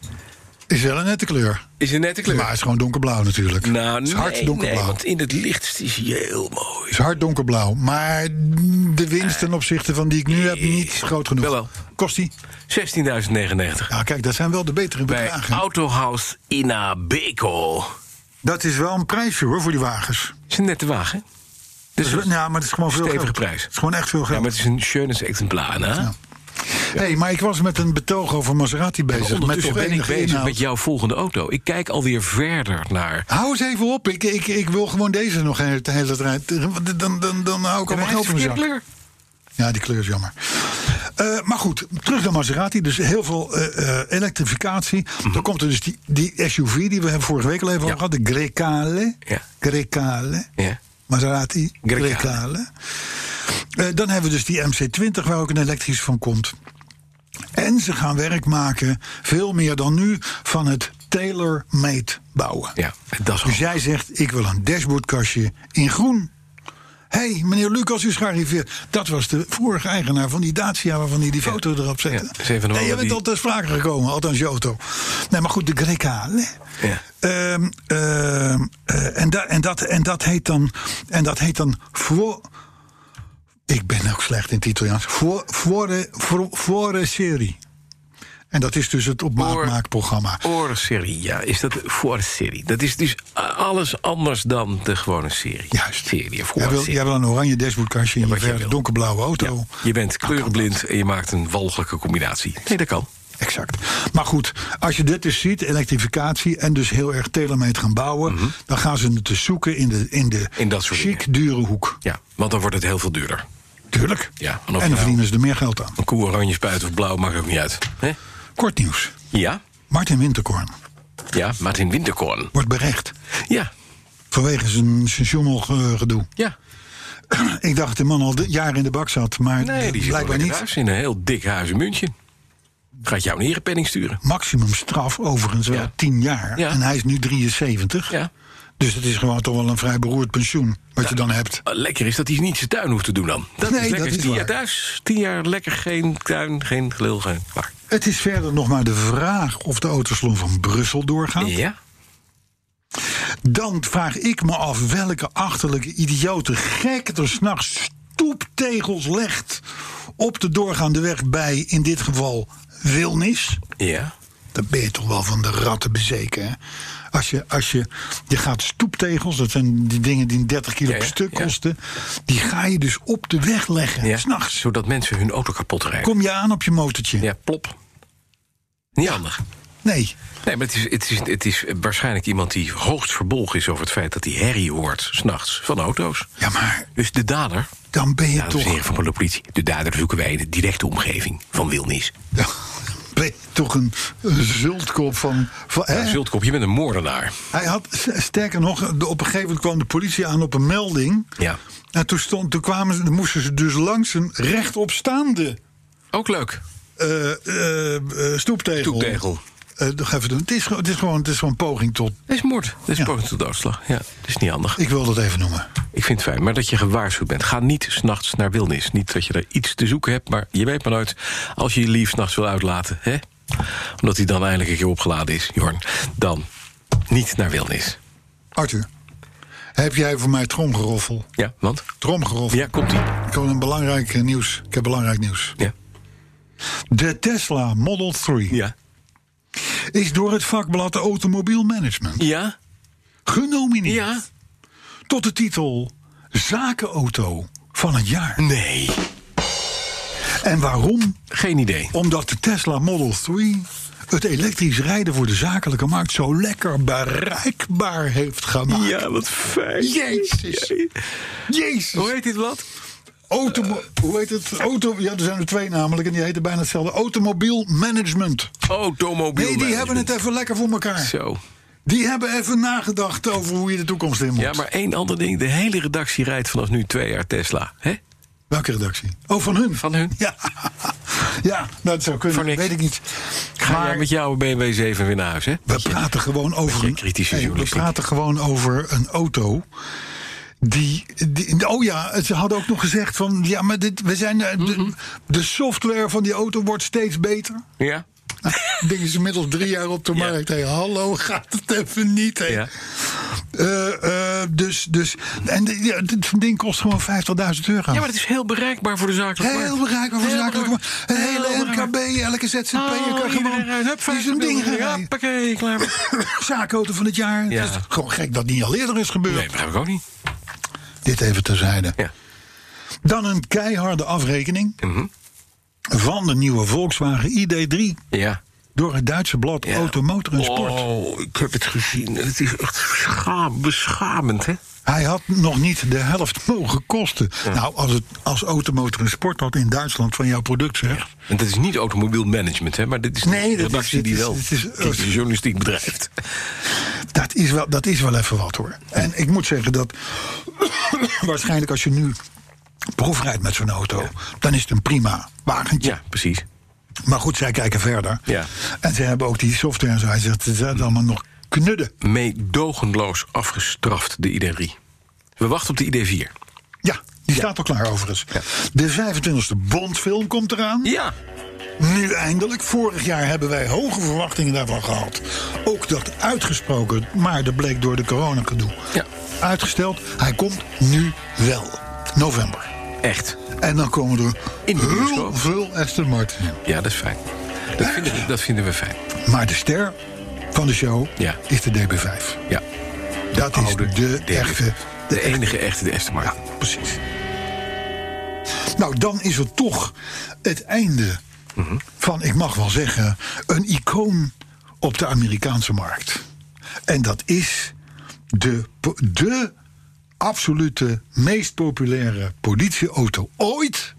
[SPEAKER 3] is wel een nette kleur.
[SPEAKER 2] Is een nette kleur.
[SPEAKER 3] Maar het is gewoon donkerblauw natuurlijk.
[SPEAKER 2] nou,
[SPEAKER 3] het is hard
[SPEAKER 2] nee, nee,
[SPEAKER 3] donkerblauw.
[SPEAKER 2] want in het licht is hij heel mooi.
[SPEAKER 3] Het is hard donkerblauw. Maar de winst ten opzichte van die ik nu heb niet is groot genoeg.
[SPEAKER 2] Eh. Wel, wel.
[SPEAKER 3] Kost die?
[SPEAKER 2] 16.099.
[SPEAKER 3] Ja, kijk, dat zijn wel de betere
[SPEAKER 2] Bij
[SPEAKER 3] bedragen.
[SPEAKER 2] Autohaus Ina Beko.
[SPEAKER 3] Dat is wel een prijsje hoor, voor die wagens.
[SPEAKER 2] is een nette wagen. Dus
[SPEAKER 3] ja, maar het is gewoon veel
[SPEAKER 2] stevige
[SPEAKER 3] geld.
[SPEAKER 2] prijs.
[SPEAKER 3] Het is gewoon echt veel
[SPEAKER 2] Ja,
[SPEAKER 3] geld.
[SPEAKER 2] maar het is een schönes exemplaar, hè? Dus
[SPEAKER 3] hey, maar ik was met een betoog over Maserati bezig. Met
[SPEAKER 2] Ondertussen
[SPEAKER 3] toch
[SPEAKER 2] ben ik
[SPEAKER 3] enige
[SPEAKER 2] bezig
[SPEAKER 3] inhoud.
[SPEAKER 2] met jouw volgende auto. Ik kijk alweer verder naar...
[SPEAKER 3] Hou eens even op. Ik, ik, ik wil gewoon deze nog de hele tijd. Dan, dan, dan, dan hou ik allemaal
[SPEAKER 2] Hij heeft
[SPEAKER 3] geld in mijn
[SPEAKER 2] verkeerde
[SPEAKER 3] zak.
[SPEAKER 2] kleur.
[SPEAKER 3] Ja, die kleur is jammer. Eh, maar goed, terug naar Maserati. Dus heel veel eh, eh, elektrificatie.
[SPEAKER 2] Mhm.
[SPEAKER 3] Dan komt er dus die, die SUV die we hebben vorige week al even over gehad. De Grecale.
[SPEAKER 2] Ja.
[SPEAKER 3] Grecale.
[SPEAKER 2] Ja.
[SPEAKER 3] Maserati.
[SPEAKER 2] Grecale.
[SPEAKER 3] Grecale. Eh, dan hebben we dus die MC20 waar ook een elektrisch van komt. En ze gaan werk maken, veel meer dan nu, van het tailor-made bouwen.
[SPEAKER 2] Ja, dat is
[SPEAKER 3] Dus
[SPEAKER 2] ook...
[SPEAKER 3] jij zegt, ik wil een dashboardkastje in groen. Hé, hey, meneer Lucas is gearriveerd. Dat was de vorige eigenaar van die Dacia waarvan hij die foto erop zette.
[SPEAKER 2] Ja, dat is een van de
[SPEAKER 3] nee,
[SPEAKER 2] mannen
[SPEAKER 3] jij bent
[SPEAKER 2] die-
[SPEAKER 3] al ter sprake gekomen, althans je auto. Nee, maar goed, de Grecale.
[SPEAKER 2] Ja.
[SPEAKER 3] Ehm, ehm, eh, en, da- en, dat, en dat heet dan... En dat heet dan voor, ik ben ook slecht in het Italiaans. Voor, voor, eh, voor, serie. En dat is dus het op maat
[SPEAKER 2] Voor-
[SPEAKER 3] maakprogramma.
[SPEAKER 2] Oorserie, ja. Is dat voor serie? Dat is dus alles anders dan de gewone serie.
[SPEAKER 3] Juist.
[SPEAKER 2] Serie of
[SPEAKER 3] Jij wil,
[SPEAKER 2] voorserie.
[SPEAKER 3] jij wil een oranje dashboardkastje in je
[SPEAKER 2] wat jij
[SPEAKER 3] verre
[SPEAKER 2] wil.
[SPEAKER 3] donkerblauwe auto.
[SPEAKER 2] Je bent kleurenblind en je maakt een walgelijke combinatie. Nee, dat kan.
[SPEAKER 3] Exact. Maar goed, als je dit dus ziet, elektrificatie en dus heel erg telemeet gaan bouwen, dan gaan ze het dus zoeken in de, in de
[SPEAKER 2] Mhm. In dat soort
[SPEAKER 3] chic dure hoek.
[SPEAKER 2] Ja, want dan wordt het heel veel duurder.
[SPEAKER 3] Tuurlijk.
[SPEAKER 2] Ja, en of
[SPEAKER 3] en
[SPEAKER 2] je nou-
[SPEAKER 3] dan verdienen ze er meer geld aan.
[SPEAKER 2] Een koe oranje spuit of blauw maakt ook niet uit. hè?
[SPEAKER 3] Kort nieuws.
[SPEAKER 2] Ja,
[SPEAKER 3] Martin Winterkorn
[SPEAKER 2] ja, Martin Winterkorn.
[SPEAKER 3] wordt berecht
[SPEAKER 2] Ja,
[SPEAKER 3] vanwege zijn, zijn jommel eh, gedoe.
[SPEAKER 2] ja.
[SPEAKER 3] Ik dacht dat de man al de- jaren in de bak zat, maar
[SPEAKER 2] Nee, die zit wel
[SPEAKER 3] blijkbaar
[SPEAKER 2] in een
[SPEAKER 3] niet.
[SPEAKER 2] huis in een heel dik huis in München. Gaat jou een herenpenning sturen.
[SPEAKER 3] Maximum straf overigens wel
[SPEAKER 2] Ja.
[SPEAKER 3] 10 jaar.
[SPEAKER 2] Ja.
[SPEAKER 3] En hij is nu 73.
[SPEAKER 2] Ja.
[SPEAKER 3] Dus het is gewoon toch wel een vrij beroerd pensioen wat je dan hebt.
[SPEAKER 2] Ah, Lekker is dat hij niet zijn tuin hoeft te doen dan. Dat
[SPEAKER 3] Nee,
[SPEAKER 2] is lekker.
[SPEAKER 3] dat is
[SPEAKER 2] tien jaar
[SPEAKER 3] waar.
[SPEAKER 2] thuis, tien jaar lekker geen tuin, geen gelul, geen klaar.
[SPEAKER 3] Het is verder nog maar de vraag of de autosalon van Brussel doorgaat.
[SPEAKER 2] Ja,
[SPEAKER 3] Dan vraag ik me af welke achterlijke idiote gek er s'nachts stoeptegels legt op de doorgaande weg bij, in dit geval, Wilnis.
[SPEAKER 2] ja.
[SPEAKER 3] Dan ben je toch wel van de ratten bezeken. Hè? Als, je, als je, je gaat stoeptegels, dat zijn die dingen die 30 kilo
[SPEAKER 2] Ja, ja,
[SPEAKER 3] per stuk
[SPEAKER 2] ja.
[SPEAKER 3] kosten, die ga je dus op de weg leggen,
[SPEAKER 2] ja.
[SPEAKER 3] s'nachts.
[SPEAKER 2] Zodat mensen hun auto kapot rijden.
[SPEAKER 3] Kom je aan op je motortje?
[SPEAKER 2] Ja, plop. Niet handig.
[SPEAKER 3] Nee.
[SPEAKER 2] Nee, maar het is, het, is, het is waarschijnlijk iemand die hoogst verbolgen is over het feit dat hij herrie hoort s'nachts van auto's.
[SPEAKER 3] Ja, maar
[SPEAKER 2] Dus de dader,
[SPEAKER 3] dan ben je
[SPEAKER 2] dames en
[SPEAKER 3] toch...
[SPEAKER 2] heren van de politie, de dader zoeken wij in de directe omgeving van Wilnis.
[SPEAKER 3] Ja, ben je toch een een zultkop van... van hè?
[SPEAKER 2] Zultkop, je bent een moordenaar.
[SPEAKER 3] Hij had, s- sterker nog, de- op een gegeven moment kwam de politie aan op een melding.
[SPEAKER 2] Ja.
[SPEAKER 3] En toen, stond, toen kwamen ze, moesten ze dus langs een rechtopstaande
[SPEAKER 2] Ook leuk.
[SPEAKER 3] eh, eh, eh, stoeptegel.
[SPEAKER 2] Stoeptegel.
[SPEAKER 3] Eh, nog even doen. Het is, gewoon- het, is gewoon, het is gewoon een poging tot...
[SPEAKER 2] Dit is moord. Dit is
[SPEAKER 3] Ja.
[SPEAKER 2] poging tot doodslag. Ja, dat is niet handig.
[SPEAKER 3] Ik wil dat even noemen.
[SPEAKER 2] Ik vind het fijn, maar dat je gewaarschuwd bent. Ga niet s'nachts naar wilnis. Niet dat je er iets te zoeken hebt, maar je weet maar nooit... als je je lief s'nachts wil uitlaten, hè? omdat hij dan eindelijk een keer opgeladen is, Jorn... dan niet naar wilnis.
[SPEAKER 3] Arthur, heb jij voor mij tromgeroffel?
[SPEAKER 2] Ja, want?
[SPEAKER 3] Tromgeroffel.
[SPEAKER 2] Ja, komt-ie.
[SPEAKER 3] Ik heb een belangrijk eh, nieuws. Ik heb belangrijk nieuws.
[SPEAKER 2] Ja.
[SPEAKER 3] De Tesla Model 3
[SPEAKER 2] Ja.
[SPEAKER 3] is door het vakblad Automobiel Management
[SPEAKER 2] Ja?
[SPEAKER 3] genomineerd
[SPEAKER 2] Ja?
[SPEAKER 3] tot de titel Zakenauto van het jaar.
[SPEAKER 2] Nee.
[SPEAKER 3] En waarom?
[SPEAKER 2] Geen idee.
[SPEAKER 3] Omdat de Tesla Model 3 het elektrisch rijden voor de zakelijke markt zo lekker bereikbaar heeft gemaakt.
[SPEAKER 2] Ja, wat fijn.
[SPEAKER 3] Jezus.
[SPEAKER 2] Hoe
[SPEAKER 3] Jezus!
[SPEAKER 2] heet dit wat?
[SPEAKER 3] Auto, hoe heet het? Auto, ja, er zijn er twee namelijk en die heten bijna hetzelfde. Automobiel Management.
[SPEAKER 2] Automobiel.
[SPEAKER 3] Nee, die hebben het
[SPEAKER 2] management.
[SPEAKER 3] even lekker voor elkaar.
[SPEAKER 2] Zo.
[SPEAKER 3] Die hebben even nagedacht over hoe je de toekomst in moet.
[SPEAKER 2] Ja, maar één ander ding. De hele redactie rijdt vanaf nu twee jaar Tesla. Hè?
[SPEAKER 3] Welke redactie? Oh, van hun.
[SPEAKER 2] Van hun.
[SPEAKER 3] Ja, ja nou, dat zou kunnen.
[SPEAKER 2] Voor niks.
[SPEAKER 3] Weet ik niet.
[SPEAKER 2] Ga
[SPEAKER 3] Maar-
[SPEAKER 2] jij met jouw BMW 7 weer naar huis, hè?
[SPEAKER 3] We praten gewoon over.
[SPEAKER 2] beetje kritische
[SPEAKER 3] Nee, we
[SPEAKER 2] journalistiek.
[SPEAKER 3] praten gewoon over een auto. Die, die- oh ja, ze hadden ook nog gezegd van. Ja, maar dit, we zijn, eh, de, de software van die auto wordt steeds beter.
[SPEAKER 2] Ja.
[SPEAKER 3] Nou, het ding is inmiddels drie jaar op de
[SPEAKER 2] Ja.
[SPEAKER 3] markt. Hey, hallo, gaat het even niet? hè?
[SPEAKER 2] Ja.
[SPEAKER 3] Eh, eh, dus, dus, en de- ja, dit ding kost gewoon 50.000 euro.
[SPEAKER 2] ja, maar het is heel bereikbaar voor de zakelijke
[SPEAKER 3] Heel
[SPEAKER 2] markt.
[SPEAKER 3] bereikbaar voor
[SPEAKER 2] Heel
[SPEAKER 3] zakelijk.
[SPEAKER 2] bereikbaar.
[SPEAKER 3] Een
[SPEAKER 2] Heel
[SPEAKER 3] hele
[SPEAKER 2] bereikbaar.
[SPEAKER 3] MKB, elke ZZP'er
[SPEAKER 2] Oh,
[SPEAKER 3] kan
[SPEAKER 2] iedereen
[SPEAKER 3] gewoon.
[SPEAKER 2] rijdt. Hup,
[SPEAKER 3] Die zo'n
[SPEAKER 2] 50
[SPEAKER 3] ding gaan
[SPEAKER 2] miljoen. Ja,
[SPEAKER 3] rijden.
[SPEAKER 2] pakket, klaar.
[SPEAKER 3] Zaakauto van het jaar.
[SPEAKER 2] Ja.
[SPEAKER 3] Het is gewoon gek dat niet al eerder is gebeurd.
[SPEAKER 2] Nee, begrijp ik ook niet.
[SPEAKER 3] Dit even terzijde.
[SPEAKER 2] Ja. Mhm.
[SPEAKER 3] Dan een keiharde afrekening van de nieuwe Volkswagen ID3
[SPEAKER 2] Ja.
[SPEAKER 3] door het Duitse blad
[SPEAKER 2] ja.
[SPEAKER 3] Automotor en Sport.
[SPEAKER 2] Oh, ik heb het gezien. Het is echt schaam, beschamend, hè?
[SPEAKER 3] Hij had nog niet de helft mogen kosten. Nou, als, het, als Automotor en Sport dat in Duitsland van jouw product zegt.
[SPEAKER 2] En dat is niet automobiel management, hè? Maar dit is
[SPEAKER 3] Nee,
[SPEAKER 2] de
[SPEAKER 3] dat is-
[SPEAKER 2] redactie
[SPEAKER 3] dit
[SPEAKER 2] die
[SPEAKER 3] is-
[SPEAKER 2] wel
[SPEAKER 3] dit is-
[SPEAKER 2] kritische journalistiek bedrijft.
[SPEAKER 3] Dat is, wel, dat is wel even wat hoor. En ik moet zeggen dat waarschijnlijk als je nu proefrijdt met zo'n auto, dan is het een prima wagentje.
[SPEAKER 2] Ja, precies.
[SPEAKER 3] Maar goed, zij kijken verder.
[SPEAKER 2] Ja.
[SPEAKER 3] En ze hebben ook die software en zo. Hij zegt, ze zijn allemaal nog knudden.
[SPEAKER 2] Meedogenloos afgestraft, de ID3. We wachten op de ID4.
[SPEAKER 3] Ja, die staat al klaar overigens. De 25e Bondfilm komt eraan.
[SPEAKER 2] Ja.
[SPEAKER 3] Nu eindelijk. Vorig jaar hebben wij hoge verwachtingen daarvan gehad. Ook dat uitgesproken, maar dat bleek door de coronagedoe.
[SPEAKER 2] Ja.
[SPEAKER 3] Uitgesteld. Hij komt nu wel. November.
[SPEAKER 2] Echt.
[SPEAKER 3] En dan komen er
[SPEAKER 2] In de
[SPEAKER 3] heel
[SPEAKER 2] bioscoop.
[SPEAKER 3] veel Aston Martin.
[SPEAKER 2] Ja, dat is fijn. Dat vinden we, dat vinden we fijn.
[SPEAKER 3] Maar de ster van de show
[SPEAKER 2] Ja.
[SPEAKER 3] is de DB5.
[SPEAKER 2] Ja.
[SPEAKER 3] dat is
[SPEAKER 2] oude
[SPEAKER 3] de
[SPEAKER 2] DB5.
[SPEAKER 3] echte.
[SPEAKER 2] De enige echte de Aston Martin.
[SPEAKER 3] Precies. Nou, dan is het toch het einde
[SPEAKER 2] Mhm.
[SPEAKER 3] van, ik mag wel zeggen, een icoon op de Amerikaanse markt. En dat is de, po- de absolute meest populaire politieauto ooit.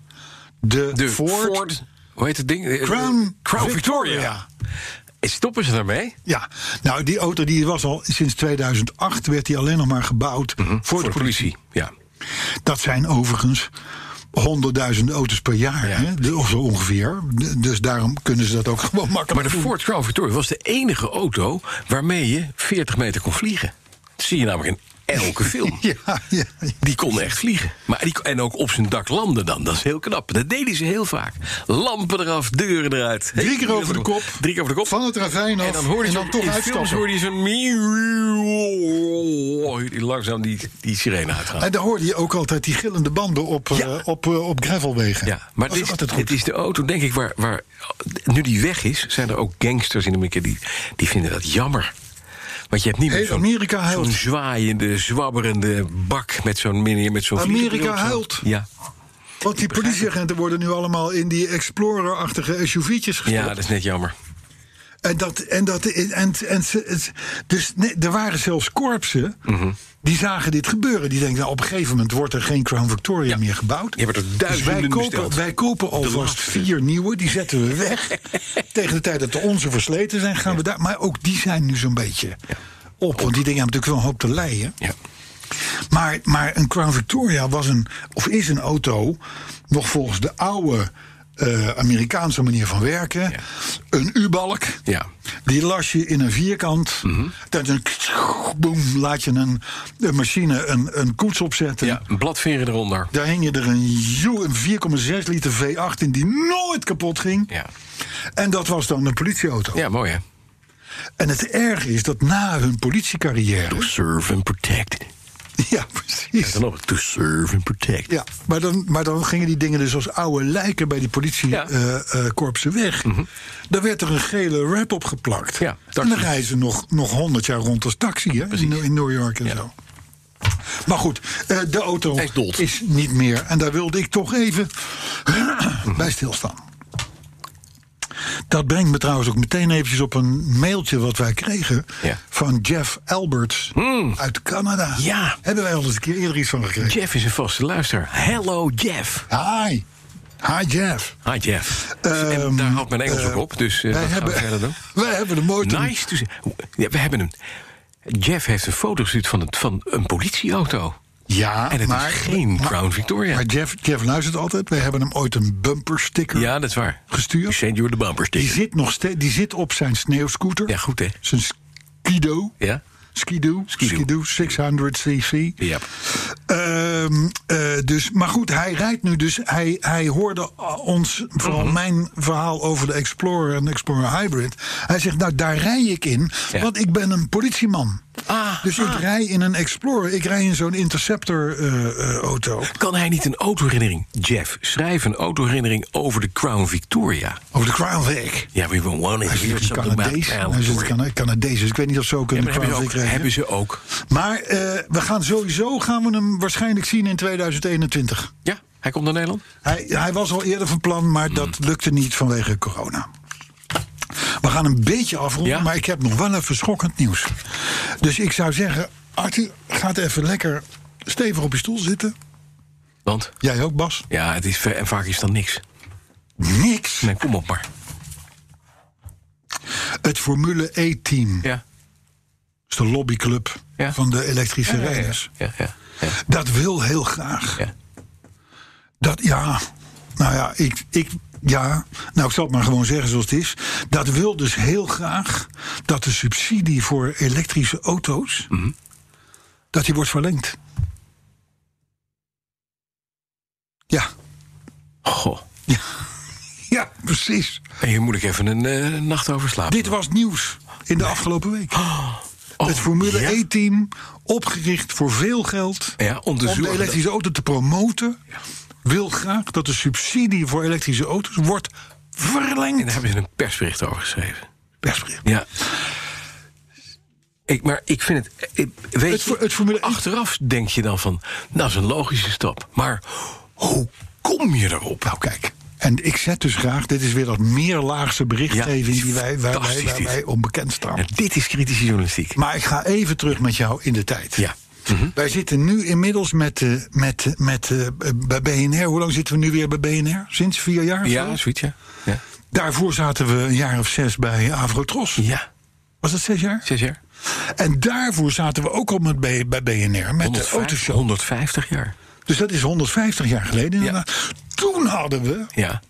[SPEAKER 3] De,
[SPEAKER 2] De
[SPEAKER 3] Ford.
[SPEAKER 2] Ford. Hoe heet het ding? Eh,
[SPEAKER 3] Crown
[SPEAKER 2] Crown
[SPEAKER 3] Victoria.
[SPEAKER 2] Victoria. Eh, Stoppen ze daarmee?
[SPEAKER 3] Ja, nou die auto die was al sinds 2008 werd die alleen nog maar gebouwd
[SPEAKER 2] Mhm,
[SPEAKER 3] voor, de politie.
[SPEAKER 2] Ja.
[SPEAKER 3] Dat zijn overigens 100.000 auto's per jaar,
[SPEAKER 2] Ja.
[SPEAKER 3] hè? De- of zo ongeveer. De- Dus daarom kunnen ze dat ook gewoon
[SPEAKER 2] Maar
[SPEAKER 3] makkelijk
[SPEAKER 2] de
[SPEAKER 3] doen.
[SPEAKER 2] Ford Crown Victoria was de enige auto waarmee je 40 meter kon vliegen. Dat zie je namelijk in elke film.
[SPEAKER 3] Ja, ja, ja.
[SPEAKER 2] Die kon echt vliegen. Maar die, en ook op zijn dak landen dan. Dat is heel knap. Dat deden ze heel vaak. Lampen eraf, deuren eruit.
[SPEAKER 3] Drie keer over de kop.
[SPEAKER 2] Drie keer over de kop.
[SPEAKER 3] Van het ravijn af.
[SPEAKER 2] En dan hoorde je toch
[SPEAKER 3] dan toch
[SPEAKER 2] in films
[SPEAKER 3] uitstappen.
[SPEAKER 2] hoorde je zo'n... miauw, die Langzaam die, die sirene uitgaan.
[SPEAKER 3] En daar hoorde je ook altijd die gillende banden op, eh,
[SPEAKER 2] Ja.
[SPEAKER 3] op, eh, op gravelwegen.
[SPEAKER 2] Ja, maar
[SPEAKER 3] Dat
[SPEAKER 2] het
[SPEAKER 3] is
[SPEAKER 2] is,
[SPEAKER 3] altijd goed.
[SPEAKER 2] het is de auto, denk ik, waar, waar... Nu die weg is, zijn er ook gangsters in Amerika... die, die vinden dat jammer. Want je hebt niet meer
[SPEAKER 3] Heel
[SPEAKER 2] zo'n
[SPEAKER 3] Amerika huilt.
[SPEAKER 2] zo'n zwaaiende, zwabberende bak... met zo'n meneer met zo'n
[SPEAKER 3] Amerika
[SPEAKER 2] vliegenbril op zijn-
[SPEAKER 3] huilt.
[SPEAKER 2] Ja,
[SPEAKER 3] Want die politieagenten worden nu allemaal in die Explorer-achtige SUV'tjes gestopt.
[SPEAKER 2] ja, dat is net jammer.
[SPEAKER 3] En dat, en dat, en, en, en- dus nee, er waren zelfs korpsen
[SPEAKER 2] Mhm.
[SPEAKER 3] die zagen dit gebeuren. Die denken, nou, op een gegeven moment wordt er geen Crown Victoria meer gebouwd.
[SPEAKER 2] Je hebt er
[SPEAKER 3] Dus wij
[SPEAKER 2] duizenden
[SPEAKER 3] kopen,
[SPEAKER 2] besteld.
[SPEAKER 3] wij kopen alvast
[SPEAKER 2] laatste.
[SPEAKER 3] vier nieuwe, die zetten we weg. Tegen de tijd dat de onze versleten zijn, gaan we daar. Maar ook die zijn nu zo'n beetje op. Want die dingen hebben natuurlijk wel een hoop te lijden.
[SPEAKER 2] Ja.
[SPEAKER 3] Maar, maar een Crown Victoria was een, of is een auto, nog volgens de oude eh, Amerikaanse manier van werken, een U-balk.
[SPEAKER 2] Ja.
[SPEAKER 3] Die las je in een vierkant.
[SPEAKER 2] Mhm.
[SPEAKER 3] Dan een boem, laat je een, een machine een, een koets opzetten.
[SPEAKER 2] ja, een bladveren eronder.
[SPEAKER 3] Daar hing je er een, joe- een 4,6 liter V8 in die nooit kapot ging.
[SPEAKER 2] Ja.
[SPEAKER 3] En dat was dan een politieauto.
[SPEAKER 2] ja, mooi hè.
[SPEAKER 3] En het erge is dat na hun politiecarrière.
[SPEAKER 2] Serve and protect.
[SPEAKER 3] Ja, precies.
[SPEAKER 2] Dan nog, to serve and protect.
[SPEAKER 3] Ja, maar dan, maar dan gingen die dingen dus als oude lijken bij die
[SPEAKER 2] Ja. Mhm.
[SPEAKER 3] politiekorpsen weg. Daar werd er een gele wrap op geplakt.
[SPEAKER 2] Ja,
[SPEAKER 3] en
[SPEAKER 2] taxi.
[SPEAKER 3] dan rijden ze nog, nog 100 jaar rond als taxi hè, in, in New York en zo. Maar goed, eh, de auto
[SPEAKER 2] Hij is dood.
[SPEAKER 3] niet meer. En daar wilde ik toch even
[SPEAKER 2] Mhm.
[SPEAKER 3] bij stilstaan. Dat brengt me trouwens ook meteen eventjes op een mailtje wat wij kregen...
[SPEAKER 2] Ja. Hmm.
[SPEAKER 3] van Jeff Alberts uit Canada.
[SPEAKER 2] Ja.
[SPEAKER 3] Hebben wij al eens een keer eerder iets van gekregen.
[SPEAKER 2] Jeff is een vaste luister. Hello Jeff.
[SPEAKER 3] Hi. Hi Jeff.
[SPEAKER 2] Hi Jeff.
[SPEAKER 3] Ehm,
[SPEAKER 2] en daar houdt mijn Engels
[SPEAKER 3] eh,
[SPEAKER 2] ook op, dus eh,
[SPEAKER 3] wij
[SPEAKER 2] dat
[SPEAKER 3] hebben,
[SPEAKER 2] gaan we verder doen.
[SPEAKER 3] Wij hebben de motor.
[SPEAKER 2] Nice to see. Ja, we hebben een. Jeff heeft een foto gestuurd van, het, van een politieauto.
[SPEAKER 3] Ja,
[SPEAKER 2] en het
[SPEAKER 3] maar,
[SPEAKER 2] is geen
[SPEAKER 3] maar-
[SPEAKER 2] Crown Victoria.
[SPEAKER 3] Maar Jeff, Jeff luistert altijd. Wij hebben hem ooit een bumper sticker.
[SPEAKER 2] ja, dat is waar.
[SPEAKER 3] Gestuurd?
[SPEAKER 2] Send you the bumper
[SPEAKER 3] Die
[SPEAKER 2] sticker.
[SPEAKER 3] zit, nog steeds, die zit op zijn sneeuwscooter.
[SPEAKER 2] Ja, goed hè.
[SPEAKER 3] Zijn Skido.
[SPEAKER 2] Ja?
[SPEAKER 3] Skidoo.
[SPEAKER 2] Skidoo.
[SPEAKER 3] Skidoo, 600cc.
[SPEAKER 2] Ja.
[SPEAKER 3] Ehm, eh, dus, maar goed, hij rijdt nu dus. Hij, hij hoorde ons, vooral
[SPEAKER 2] Mhm.
[SPEAKER 3] mijn verhaal over de Explorer en Explorer Hybrid. Hij zegt, nou daar rij ik in,
[SPEAKER 2] Ja.
[SPEAKER 3] want ik ben een politieman.
[SPEAKER 2] Ah,
[SPEAKER 3] dus ik rij in een Explorer, ik rij in zo'n eh, Interceptor-auto.
[SPEAKER 2] Kan hij niet een autoherinnering, Jeff, schrijf een autoherinnering over de Crown Victoria?
[SPEAKER 3] over de Crown Vic.
[SPEAKER 2] Ja, we want to
[SPEAKER 3] Hij
[SPEAKER 2] hear
[SPEAKER 3] zit
[SPEAKER 2] something about
[SPEAKER 3] Canadees.
[SPEAKER 2] Crown
[SPEAKER 3] Hij zit
[SPEAKER 2] Victoria.
[SPEAKER 3] Cana- Canadees, dus ik weet niet of ze ook
[SPEAKER 2] Ja,
[SPEAKER 3] een
[SPEAKER 2] maar hebben,
[SPEAKER 3] Crown
[SPEAKER 2] ze
[SPEAKER 3] Vic
[SPEAKER 2] ook,
[SPEAKER 3] krijgen.
[SPEAKER 2] hebben ze ook.
[SPEAKER 3] Maar eh, we gaan sowieso gaan we hem waarschijnlijk zien in 2021.
[SPEAKER 2] Ja, hij komt naar Nederland.
[SPEAKER 3] Hij, hij was al eerder van plan,
[SPEAKER 2] Mm.
[SPEAKER 3] maar dat lukte niet vanwege corona. We gaan een beetje afronden,
[SPEAKER 2] Ja?
[SPEAKER 3] maar ik heb nog wel even schokkend nieuws. Dus ik zou zeggen, Arthur, ga even lekker stevig op je stoel zitten.
[SPEAKER 2] Want
[SPEAKER 3] Jij ook, Bas?
[SPEAKER 2] ja, het is, en vaak is dan niks.
[SPEAKER 3] Niks.
[SPEAKER 2] Nee, kom op maar.
[SPEAKER 3] Het Formule E-team,
[SPEAKER 2] Ja,
[SPEAKER 3] is de lobbyclub
[SPEAKER 2] Ja.
[SPEAKER 3] van de elektrische
[SPEAKER 2] ja, ja,
[SPEAKER 3] rijders.
[SPEAKER 2] ja, ja, ja,
[SPEAKER 3] Dat wil heel graag.
[SPEAKER 2] ja.
[SPEAKER 3] Dat ja. Nou ja, ik, ik, ja. Nou, ik zal het maar gewoon zeggen zoals het is. Dat wil dus heel graag dat de subsidie voor elektrische auto's.
[SPEAKER 2] Mhm.
[SPEAKER 3] dat die wordt verlengd. Ja.
[SPEAKER 2] Goh.
[SPEAKER 3] Ja, ja precies.
[SPEAKER 2] En hier moet ik even een eh, nacht over slapen.
[SPEAKER 3] Dit was nieuws in de afgelopen week.
[SPEAKER 2] Oh,
[SPEAKER 3] het Formule
[SPEAKER 2] ja.
[SPEAKER 3] E-team, opgericht voor veel geld.
[SPEAKER 2] Ja, om te
[SPEAKER 3] om de
[SPEAKER 2] zorgen
[SPEAKER 3] elektrische auto te promoten. wil graag dat de subsidie voor elektrische auto's wordt
[SPEAKER 2] En daar
[SPEAKER 3] verlengd.
[SPEAKER 2] hebben ze een persbericht over geschreven.
[SPEAKER 3] Persbericht.
[SPEAKER 2] Ja. Ik, maar ik vind het. ik- weet
[SPEAKER 3] Het
[SPEAKER 2] je,
[SPEAKER 3] voor- het Formule E-
[SPEAKER 2] achteraf denk je dan van. Nou, dat is een logische stap. Maar hoe kom je erop?
[SPEAKER 3] Nou, kijk. En ik zet dus graag, dit is weer dat meerlaagse berichtgeving
[SPEAKER 2] Ja,
[SPEAKER 3] die wij, wij, wij,
[SPEAKER 2] fantastisch
[SPEAKER 3] wij,
[SPEAKER 2] dit.
[SPEAKER 3] wij onbekend staan.
[SPEAKER 2] Nou, dit is kritische journalistiek.
[SPEAKER 3] Maar ik ga even terug met jou in de tijd.
[SPEAKER 2] Ja. Mhm.
[SPEAKER 3] Wij zitten nu inmiddels met, eh, met, eh, met, eh, bij BNR. Hoe lang zitten we nu weer bij BNR? Sinds vier jaar? of zo?
[SPEAKER 2] Ja, zoiets, ja. Ja.
[SPEAKER 3] Daarvoor zaten we een jaar of zes bij Avrotros.
[SPEAKER 2] ja.
[SPEAKER 3] Was dat zes jaar?
[SPEAKER 2] Zes jaar?
[SPEAKER 3] En daarvoor zaten we ook al met, bij, bij BNR, met de
[SPEAKER 2] 150,
[SPEAKER 3] autoshow.
[SPEAKER 2] 150 jaar.
[SPEAKER 3] Dus dat is 150 jaar geleden. inderdaad. Toen hadden we
[SPEAKER 2] Ja.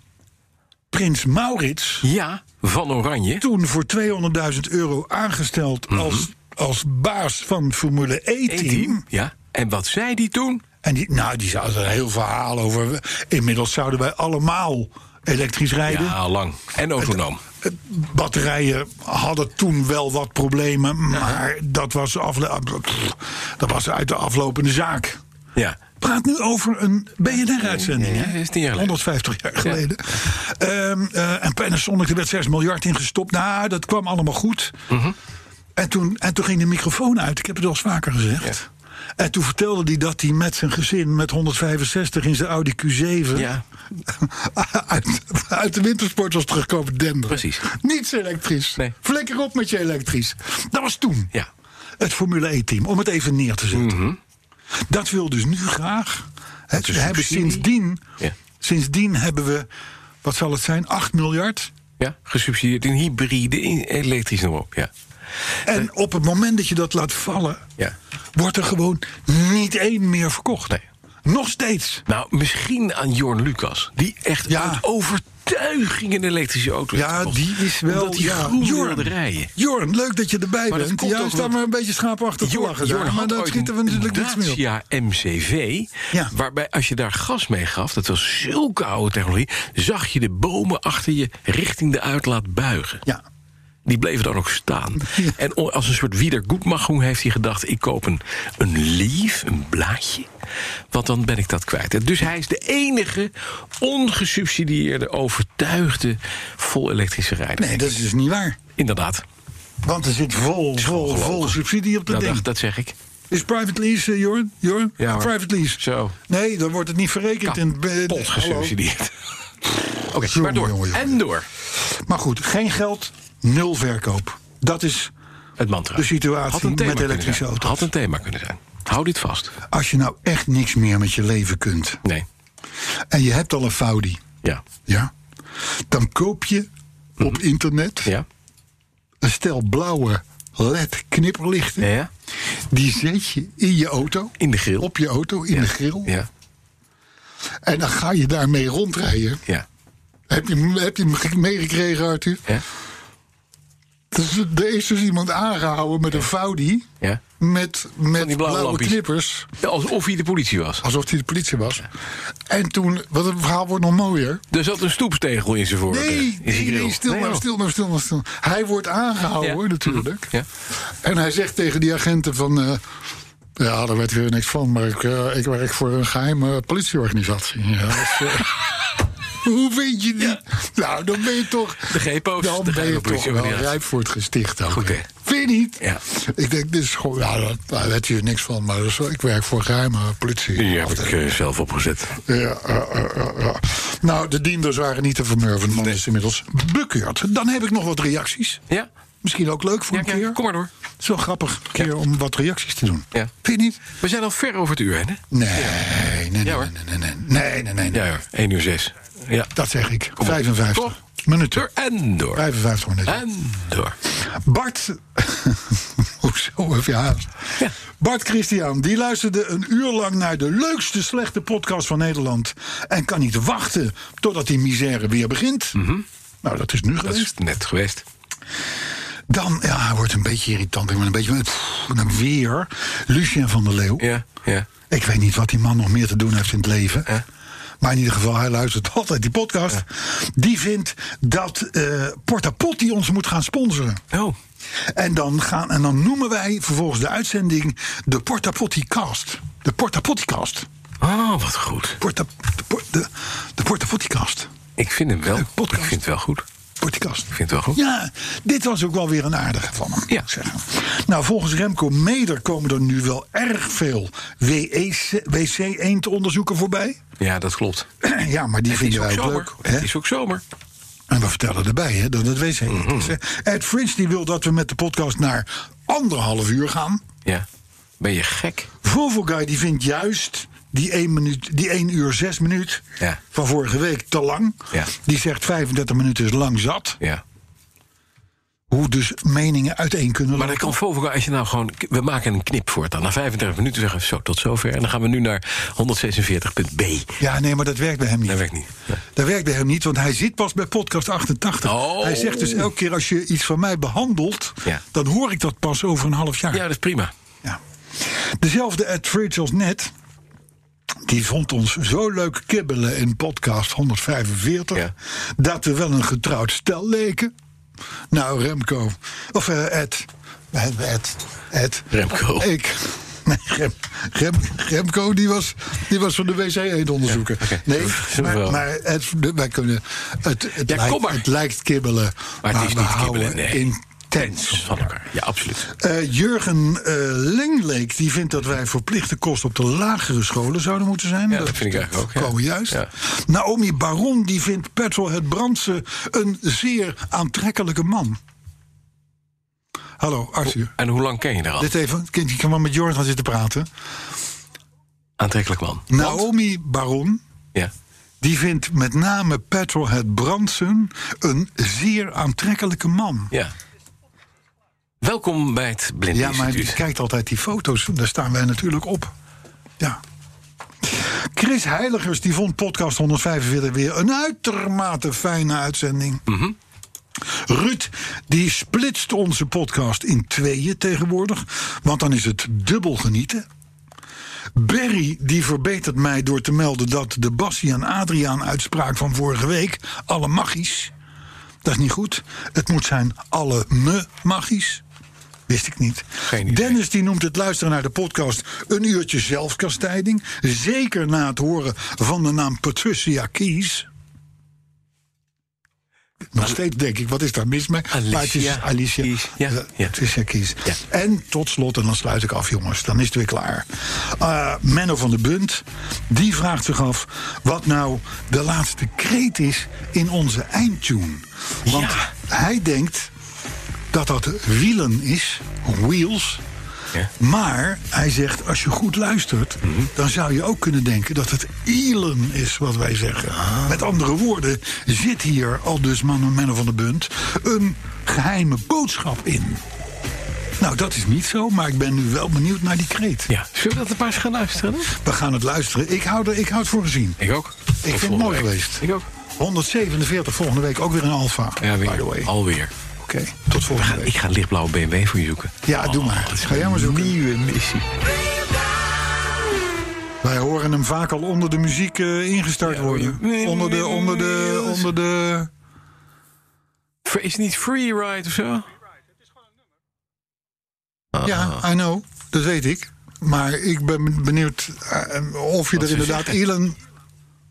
[SPEAKER 3] prins Maurits,
[SPEAKER 2] Ja, van Oranje.
[SPEAKER 3] toen voor 200.000 euro aangesteld
[SPEAKER 2] Mhm.
[SPEAKER 3] als, als baas van Formule E-team.
[SPEAKER 2] E-team. Ja. En wat zei die toen?
[SPEAKER 3] En die, nou, die zouden er heel verhaal over. Inmiddels zouden wij allemaal elektrisch rijden.
[SPEAKER 2] Ja, lang. En autonoom.
[SPEAKER 3] Eh, Batterijen hadden toen wel wat problemen, maar dat, was afle- ah, pff, dat was uit de aflopende zaak.
[SPEAKER 2] Ja.
[SPEAKER 3] praat nu over een BNR-uitzending.
[SPEAKER 2] Ja, ja,
[SPEAKER 3] hè?
[SPEAKER 2] is tien jaar geleden.
[SPEAKER 3] 150 jaar geleden. Ehm, eh, en Panasonic, er werd 6 miljard in gestopt. Nou,
[SPEAKER 2] Mhm.
[SPEAKER 3] dat kwam allemaal goed. en, toen, en toen ging de microfoon uit. Ik heb het al eens vaker gezegd. En toen vertelde hij dat hij met zijn gezin met 165 in zijn Audi Q7
[SPEAKER 2] Ja.
[SPEAKER 3] uit, uit de wintersport was terugkomen denderen.
[SPEAKER 2] Precies.
[SPEAKER 3] Niets elektrisch.
[SPEAKER 2] Nee.
[SPEAKER 3] Flikker op met je elektrisch. Dat was toen.
[SPEAKER 2] Ja.
[SPEAKER 3] Het Formule E-team, om het even neer te zetten. Dat wil dus nu graag. Hè,
[SPEAKER 2] Mhm. is
[SPEAKER 3] we hebben
[SPEAKER 2] subsidie.
[SPEAKER 3] sindsdien,
[SPEAKER 2] Ja.
[SPEAKER 3] sindsdien hebben we, wat zal het zijn, 8 miljard.
[SPEAKER 2] Ja, gesubsidieerd in hybride, in elektrisch nog op. Ja.
[SPEAKER 3] En op het moment dat je dat laat vallen,
[SPEAKER 2] Ja.
[SPEAKER 3] wordt er gewoon niet één meer verkocht.
[SPEAKER 2] Nee.
[SPEAKER 3] Nog steeds.
[SPEAKER 2] Nou, misschien aan Jorn Lucas. Die echt
[SPEAKER 3] Ja.
[SPEAKER 2] uit overtuiging een elektrische auto heeft
[SPEAKER 3] Ja,
[SPEAKER 2] gekocht.
[SPEAKER 3] die is wel.
[SPEAKER 2] Omdat hij
[SPEAKER 3] ja,
[SPEAKER 2] groen
[SPEAKER 3] Jorn.
[SPEAKER 2] wilde rijden.
[SPEAKER 3] Jorn, leuk dat je erbij
[SPEAKER 2] Maar dat
[SPEAKER 3] bent.
[SPEAKER 2] komt
[SPEAKER 3] Ja,
[SPEAKER 2] ook
[SPEAKER 3] we staan
[SPEAKER 2] omdat-
[SPEAKER 3] maar een beetje schaapachtig te lachen. zeg. maar
[SPEAKER 2] had
[SPEAKER 3] daar
[SPEAKER 2] ooit
[SPEAKER 3] schieten we
[SPEAKER 2] een
[SPEAKER 3] natuurlijk niks mee op.
[SPEAKER 2] Dacia MCV,
[SPEAKER 3] Ja.
[SPEAKER 2] waarbij als je daar gas mee gaf... dat was zulke oude technologie... zag je de bomen achter je richting de uitlaat buigen.
[SPEAKER 3] Ja.
[SPEAKER 2] Die bleven dan ook staan.
[SPEAKER 3] Ja.
[SPEAKER 2] En o- als een soort wiedergoedmachung heeft hij gedacht... ik koop een, een lief, een blaadje, want dan ben ik dat kwijt. En Dus hij is de enige ongesubsidieerde, overtuigde... vol elektrische rijder.
[SPEAKER 3] Nee, dat is dus niet waar.
[SPEAKER 2] Inderdaad,
[SPEAKER 3] Want er zit vol, vol, vol
[SPEAKER 2] ongelogen.
[SPEAKER 3] subsidie op de
[SPEAKER 2] Nou, dat, dat,
[SPEAKER 3] ding.
[SPEAKER 2] dat zeg ik.
[SPEAKER 3] Is private lease, eh, Jorn? Jorn?
[SPEAKER 2] Ja, hoor.
[SPEAKER 3] private lease.
[SPEAKER 2] Zo.
[SPEAKER 3] Nee, dan wordt het niet verrekend. in eh,
[SPEAKER 2] Pot
[SPEAKER 3] hallo.
[SPEAKER 2] gesubsidieerd. Oké, maar
[SPEAKER 3] Jongen,
[SPEAKER 2] door.
[SPEAKER 3] jongen, jongen.
[SPEAKER 2] En door.
[SPEAKER 3] Maar goed, geen geld, nul verkoop. Dat is,
[SPEAKER 2] Het mantra.
[SPEAKER 3] De situatie
[SPEAKER 2] Had een thema
[SPEAKER 3] met
[SPEAKER 2] kunnen
[SPEAKER 3] elektrische
[SPEAKER 2] zijn.
[SPEAKER 3] auto's.
[SPEAKER 2] Had een thema kunnen zijn. Hou dit vast.
[SPEAKER 3] als je nou echt niks meer met je leven kunt...
[SPEAKER 2] Nee.
[SPEAKER 3] en je hebt al een Faudi,
[SPEAKER 2] Ja.
[SPEAKER 3] ja, dan koop je op internet
[SPEAKER 2] Mhm. Ja.
[SPEAKER 3] een stel blauwe LED-knipperlichten.
[SPEAKER 2] Ja. ja.
[SPEAKER 3] Die zet je in je auto.
[SPEAKER 2] In de grill.
[SPEAKER 3] Op je auto, in de grill.
[SPEAKER 2] Ja.
[SPEAKER 3] En dan ga je daarmee rondrijden.
[SPEAKER 2] Ja.
[SPEAKER 3] Heb je, hem- heb je hem ge- meegekregen, Arthur?
[SPEAKER 2] Ja.
[SPEAKER 3] Dus er is dus iemand aangehouden met een Faudi.
[SPEAKER 2] Ja.
[SPEAKER 3] Met, met
[SPEAKER 2] die blauwe
[SPEAKER 3] blauwe,
[SPEAKER 2] lampjes.
[SPEAKER 3] knippers.
[SPEAKER 2] Ja, Alsof hij de politie was.
[SPEAKER 3] Alsof hij de politie was. En toen, wat het verhaal wordt nog mooier.
[SPEAKER 2] Er zat een stoepstegel in zijn voorkeur.
[SPEAKER 3] Nee,
[SPEAKER 2] in zijn
[SPEAKER 3] nee,
[SPEAKER 2] grill.
[SPEAKER 3] nee, stil
[SPEAKER 2] Nee,
[SPEAKER 3] nou,
[SPEAKER 2] joh.
[SPEAKER 3] stil nou, stil nou, stil. Hij wordt aangehouden
[SPEAKER 2] Ja.
[SPEAKER 3] natuurlijk.
[SPEAKER 2] Ja.
[SPEAKER 3] En hij zegt tegen die agenten van... eh, ja, daar weet weer niks van, maar ik, eh, ik werk voor een geheime politieorganisatie. Ja, dat is, eh, hoe vind je die? Nou, dan ben je toch...
[SPEAKER 2] De GPO's,
[SPEAKER 3] Dan
[SPEAKER 2] de
[SPEAKER 3] ben
[SPEAKER 2] geheime
[SPEAKER 3] je toch wel
[SPEAKER 2] politieorganisatie.
[SPEAKER 3] rijp voor het gesticht. Ook,
[SPEAKER 2] Goed, hè?
[SPEAKER 3] Vind je niet?
[SPEAKER 2] Ja.
[SPEAKER 3] Ik denk, dit is gewoon... Ja, dat- daar weet je niks van, maar dat is wel- ik werk voor een geheime politie.
[SPEAKER 2] Die heb ik eh, zelf opgezet.
[SPEAKER 3] Ja, ja, ja, ja, ja. Nou, de dienders waren niet te vermurven. De man is inmiddels bekeurd. Dan heb ik nog wat reacties.
[SPEAKER 2] Ja.
[SPEAKER 3] Misschien ook leuk voor
[SPEAKER 2] Ja,
[SPEAKER 3] een
[SPEAKER 2] ja,
[SPEAKER 3] keer.
[SPEAKER 2] kom maar door.
[SPEAKER 3] Het is wel grappig een keer om wat reacties te doen.
[SPEAKER 2] Ja.
[SPEAKER 3] Vind je niet?
[SPEAKER 2] We zijn al ver over het uur, hè?
[SPEAKER 3] Nee, nee, nee,
[SPEAKER 2] Ja, hoor.
[SPEAKER 3] nee, nee, nee, nee, nee, nee, nee.
[SPEAKER 2] Ja, hoor. 1 uur 6. Ja.
[SPEAKER 3] Dat zeg ik.
[SPEAKER 2] op.
[SPEAKER 3] 55
[SPEAKER 2] Toch? Door
[SPEAKER 3] minuten.
[SPEAKER 2] en door.
[SPEAKER 3] 55 minuten.
[SPEAKER 2] En door.
[SPEAKER 3] Bart. Hoezo heb je haast?
[SPEAKER 2] Ja.
[SPEAKER 3] Bart Christian, die luisterde een uur lang naar de leukste slechte podcast van Nederland. En kan niet wachten totdat die misère weer begint. Nou, dat is nu
[SPEAKER 2] Mhm. Dat
[SPEAKER 3] geweest.
[SPEAKER 2] is net geweest.
[SPEAKER 3] Dan, ja, hij wordt een beetje irritant. Ik word een beetje. Pff, dan weer. Lucien van der Leeuw.
[SPEAKER 2] Ja. Ja.
[SPEAKER 3] Ik weet niet wat die man nog meer te doen heeft in het leven.
[SPEAKER 2] Ja.
[SPEAKER 3] Maar in ieder geval, hij luistert altijd die podcast. Die vindt dat eh Porta Potti ons moet gaan sponsoren.
[SPEAKER 2] Oh.
[SPEAKER 3] En dan, gaan, en dan noemen wij vervolgens de uitzending de Porta Potti Cast. De Porta Potti Cast.
[SPEAKER 2] Oh, wat goed.
[SPEAKER 3] Porta, de, por- de, de Porta Potti Cast.
[SPEAKER 2] Ik vind hem wel.
[SPEAKER 3] Leuk
[SPEAKER 2] Ik
[SPEAKER 3] podcast.
[SPEAKER 2] vind het wel goed.
[SPEAKER 3] Porticast.
[SPEAKER 2] Ik vind het wel goed.
[SPEAKER 3] Ja, dit was ook wel weer een aardige van hem.
[SPEAKER 2] Ja.
[SPEAKER 3] moet ik Zeggen. Nou, volgens Remco Meder komen er nu wel erg veel E WC-eendonderzoeken voorbij.
[SPEAKER 2] Ja, dat klopt.
[SPEAKER 3] ja, maar die
[SPEAKER 2] Het is
[SPEAKER 3] vinden
[SPEAKER 2] ook
[SPEAKER 3] wij ook
[SPEAKER 2] zomer.
[SPEAKER 3] leuk. hè?
[SPEAKER 2] Het is ook zomer.
[SPEAKER 3] En we vertellen erbij hè, dat het wc eend
[SPEAKER 2] Mhm.
[SPEAKER 3] is. hè. Ed Fringe die wil dat we met de podcast naar anderhalf uur gaan.
[SPEAKER 2] Ja. Ben je gek?
[SPEAKER 3] Volvo Guy die vindt juist die 1, minuut, die 1 uur 6 minuut
[SPEAKER 2] Ja.
[SPEAKER 3] van vorige week te lang.
[SPEAKER 2] Ja.
[SPEAKER 3] Die zegt 35 minuten is lang zat.
[SPEAKER 2] Ja.
[SPEAKER 3] Hoe dus meningen uiteen kunnen
[SPEAKER 2] Maar dan
[SPEAKER 3] lopen.
[SPEAKER 2] kan Vovoga, als je nou gewoon... We maken een knip voor het dan. Na 35 minuten zeggen we zo, tot zover. En dan gaan we nu naar 146.b.
[SPEAKER 3] Ja, nee, maar dat werkt bij hem niet.
[SPEAKER 2] Dat werkt niet. Nee.
[SPEAKER 3] Dat werkt bij hem niet, want hij zit pas bij podcast 88.
[SPEAKER 2] Oh.
[SPEAKER 3] Hij zegt dus elke keer als je iets van mij behandelt...
[SPEAKER 2] Ja.
[SPEAKER 3] dan hoor ik dat pas over een half jaar.
[SPEAKER 2] Ja, dat is prima.
[SPEAKER 3] Ja. Dezelfde Ed Fridge als net... die vond ons zo leuk kibbelen in podcast 145...
[SPEAKER 2] Ja.
[SPEAKER 3] dat we wel een getrouwd stel leken. Nou, Remco... Of eh, Ed... Ed, Ed, Ed.
[SPEAKER 2] Remco.
[SPEAKER 3] Ik... Nee, Rem, Rem, Remco die was, die was van de wc eend onderzoeken.
[SPEAKER 2] oké.
[SPEAKER 3] Nee,
[SPEAKER 2] Zo
[SPEAKER 3] maar,
[SPEAKER 2] wel.
[SPEAKER 3] maar het, wij kunnen, het, het,
[SPEAKER 2] Ja,
[SPEAKER 3] lijkt,
[SPEAKER 2] kom maar.
[SPEAKER 3] het lijkt kibbelen.
[SPEAKER 2] Maar het is
[SPEAKER 3] we
[SPEAKER 2] niet
[SPEAKER 3] houden
[SPEAKER 2] kibbelen, nee.
[SPEAKER 3] in Tens.
[SPEAKER 2] van elkaar. Ja, absoluut.
[SPEAKER 3] Eh, Jurgen eh Lengleek die vindt dat wij verplichte kosten op de lagere scholen zouden moeten zijn.
[SPEAKER 2] Ja, dat vind ik eigenlijk ook, ja.
[SPEAKER 3] voorkomen juist.
[SPEAKER 2] Ja.
[SPEAKER 3] Naomi Baron die vindt Petrol het Brandse een zeer aantrekkelijke man. Hallo, Arthur.
[SPEAKER 2] En hoe lang ken je haar al?
[SPEAKER 3] Dit even, het kindje kan maar met Jurgen gaan zitten praten.
[SPEAKER 2] Aantrekkelijk man.
[SPEAKER 3] Naomi Baron
[SPEAKER 2] Ja.
[SPEAKER 3] die vindt met name Petrolhead Bransen een zeer aantrekkelijke man.
[SPEAKER 2] ja. Welkom bij het Blinde
[SPEAKER 3] Ja, maar je
[SPEAKER 2] Instituut.
[SPEAKER 3] kijkt altijd die foto's. Daar staan wij natuurlijk op. Ja. Chris Heiligers die vond podcast 145 weer een uitermate fijne uitzending. Ruud die splitst onze podcast in tweeën tegenwoordig. Want dan is het dubbel genieten. Berry die verbetert mij door te melden dat de Bassie en Adriaan uitspraak van vorige week alle magisch. Dat is niet goed. Het moet zijn alle me magisch. Wist ik niet.
[SPEAKER 2] Geen idee.
[SPEAKER 3] Dennis die noemt het luisteren naar de podcast een uurtje zelfkastijding. Zeker na het horen van de naam Patricia Keys. Nog steeds denk ik, wat is daar mis mee?
[SPEAKER 2] Alicia
[SPEAKER 3] Maar het is Alicia.
[SPEAKER 2] Keys, ja,
[SPEAKER 3] Eh,
[SPEAKER 2] ja.
[SPEAKER 3] Patricia Keys.
[SPEAKER 2] Ja.
[SPEAKER 3] En tot slot, en dan sluit ik af, jongens, dan is het weer klaar. Eh, Menno van der Bunt, die vraagt zich af wat nou de laatste kreet is in onze eindtune. Want
[SPEAKER 2] Ja.
[SPEAKER 3] hij denkt dat dat wielen is, wheels.
[SPEAKER 2] Ja. Mhm.
[SPEAKER 3] Maar hij zegt, als je goed luistert, dan zou je ook kunnen denken dat het Elon is wat wij zeggen.
[SPEAKER 2] Ah.
[SPEAKER 3] Met andere woorden, zit hier, al dus man Menno van der Bunt, een geheime boodschap in. Nou, dat is niet zo, maar ik ben nu wel benieuwd naar die kreet.
[SPEAKER 2] Ja. Zullen we dat een paar eens gaan luisteren?
[SPEAKER 3] We gaan het luisteren. Ik hou, er, ik hou het voor gezien.
[SPEAKER 2] Ik ook. Tot
[SPEAKER 3] vind het
[SPEAKER 2] volgende
[SPEAKER 3] mooi
[SPEAKER 2] week.
[SPEAKER 3] geweest.
[SPEAKER 2] Ik ook.
[SPEAKER 3] 147 volgende week, ook weer een alfa.
[SPEAKER 2] Ja,
[SPEAKER 3] by the way.
[SPEAKER 2] weer.
[SPEAKER 3] Oké,
[SPEAKER 2] Alweer.
[SPEAKER 3] tot volgende
[SPEAKER 2] Ik
[SPEAKER 3] week.
[SPEAKER 2] ga een lichtblauwe BMW voor je zoeken.
[SPEAKER 3] Ja, doe maar.
[SPEAKER 2] dat is
[SPEAKER 3] Ga jij maar zoeken.
[SPEAKER 2] Een nieuwe missie.
[SPEAKER 3] Wij horen hem vaak al onder de muziek eh, ingestart worden.
[SPEAKER 2] hoor je.
[SPEAKER 3] Onder de, onder de, onder de...
[SPEAKER 2] Is het niet Freeride of zo? Ah.
[SPEAKER 3] Ja, I know. Dat weet ik. Maar ik ben benieuwd eh, of je
[SPEAKER 2] Wat
[SPEAKER 3] er
[SPEAKER 2] ze
[SPEAKER 3] inderdaad
[SPEAKER 2] zeggen.
[SPEAKER 3] Elon...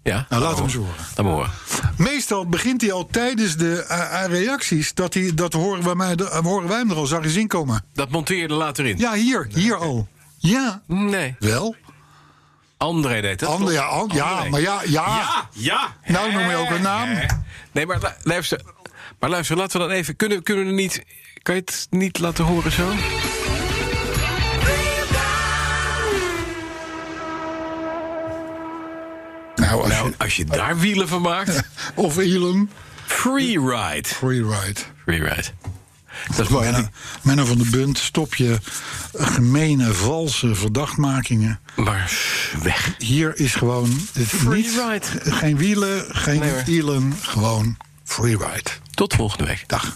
[SPEAKER 2] Ja. laat
[SPEAKER 3] Nou, laten we eens horen.
[SPEAKER 2] Laat me horen.
[SPEAKER 3] Meestal begint hij al tijdens de eh, eh, reacties... dat, hij, dat horen, wij mij, eh, horen wij hem er al zachtjes in komen.
[SPEAKER 2] Dat monteerde later in.
[SPEAKER 3] Ja, hier. Hier al. Ja.
[SPEAKER 2] Nee.
[SPEAKER 3] Wel.
[SPEAKER 2] André deed dat.
[SPEAKER 3] Ander,
[SPEAKER 2] toch?
[SPEAKER 3] ja, an- ja,
[SPEAKER 2] André.
[SPEAKER 3] maar ja, ja.
[SPEAKER 2] Ja, ja.
[SPEAKER 3] Nou noem je ook een naam.
[SPEAKER 2] Hè? Nee, maar lu- luister, maar luister, laten we dan even. Kunnen, kunnen we er niet. Kan je het niet laten horen zo?
[SPEAKER 3] Nou, als
[SPEAKER 2] Nou,
[SPEAKER 3] je-
[SPEAKER 2] als je daar wielen van maakt.
[SPEAKER 3] of Elon.
[SPEAKER 2] Freeride.
[SPEAKER 3] Freeride.
[SPEAKER 2] Freeride. Dat is mooi.
[SPEAKER 3] Menno, nou- Menno van de Bunt, stop je gemene, valse verdachtmakingen.
[SPEAKER 2] Maar weg.
[SPEAKER 3] Hier is gewoon... Het is niet,
[SPEAKER 2] Freeride.
[SPEAKER 3] geen wielen, geen
[SPEAKER 2] Nee, hoor.
[SPEAKER 3] Elon, gewoon freeride.
[SPEAKER 2] Tot volgende week.
[SPEAKER 3] Dag.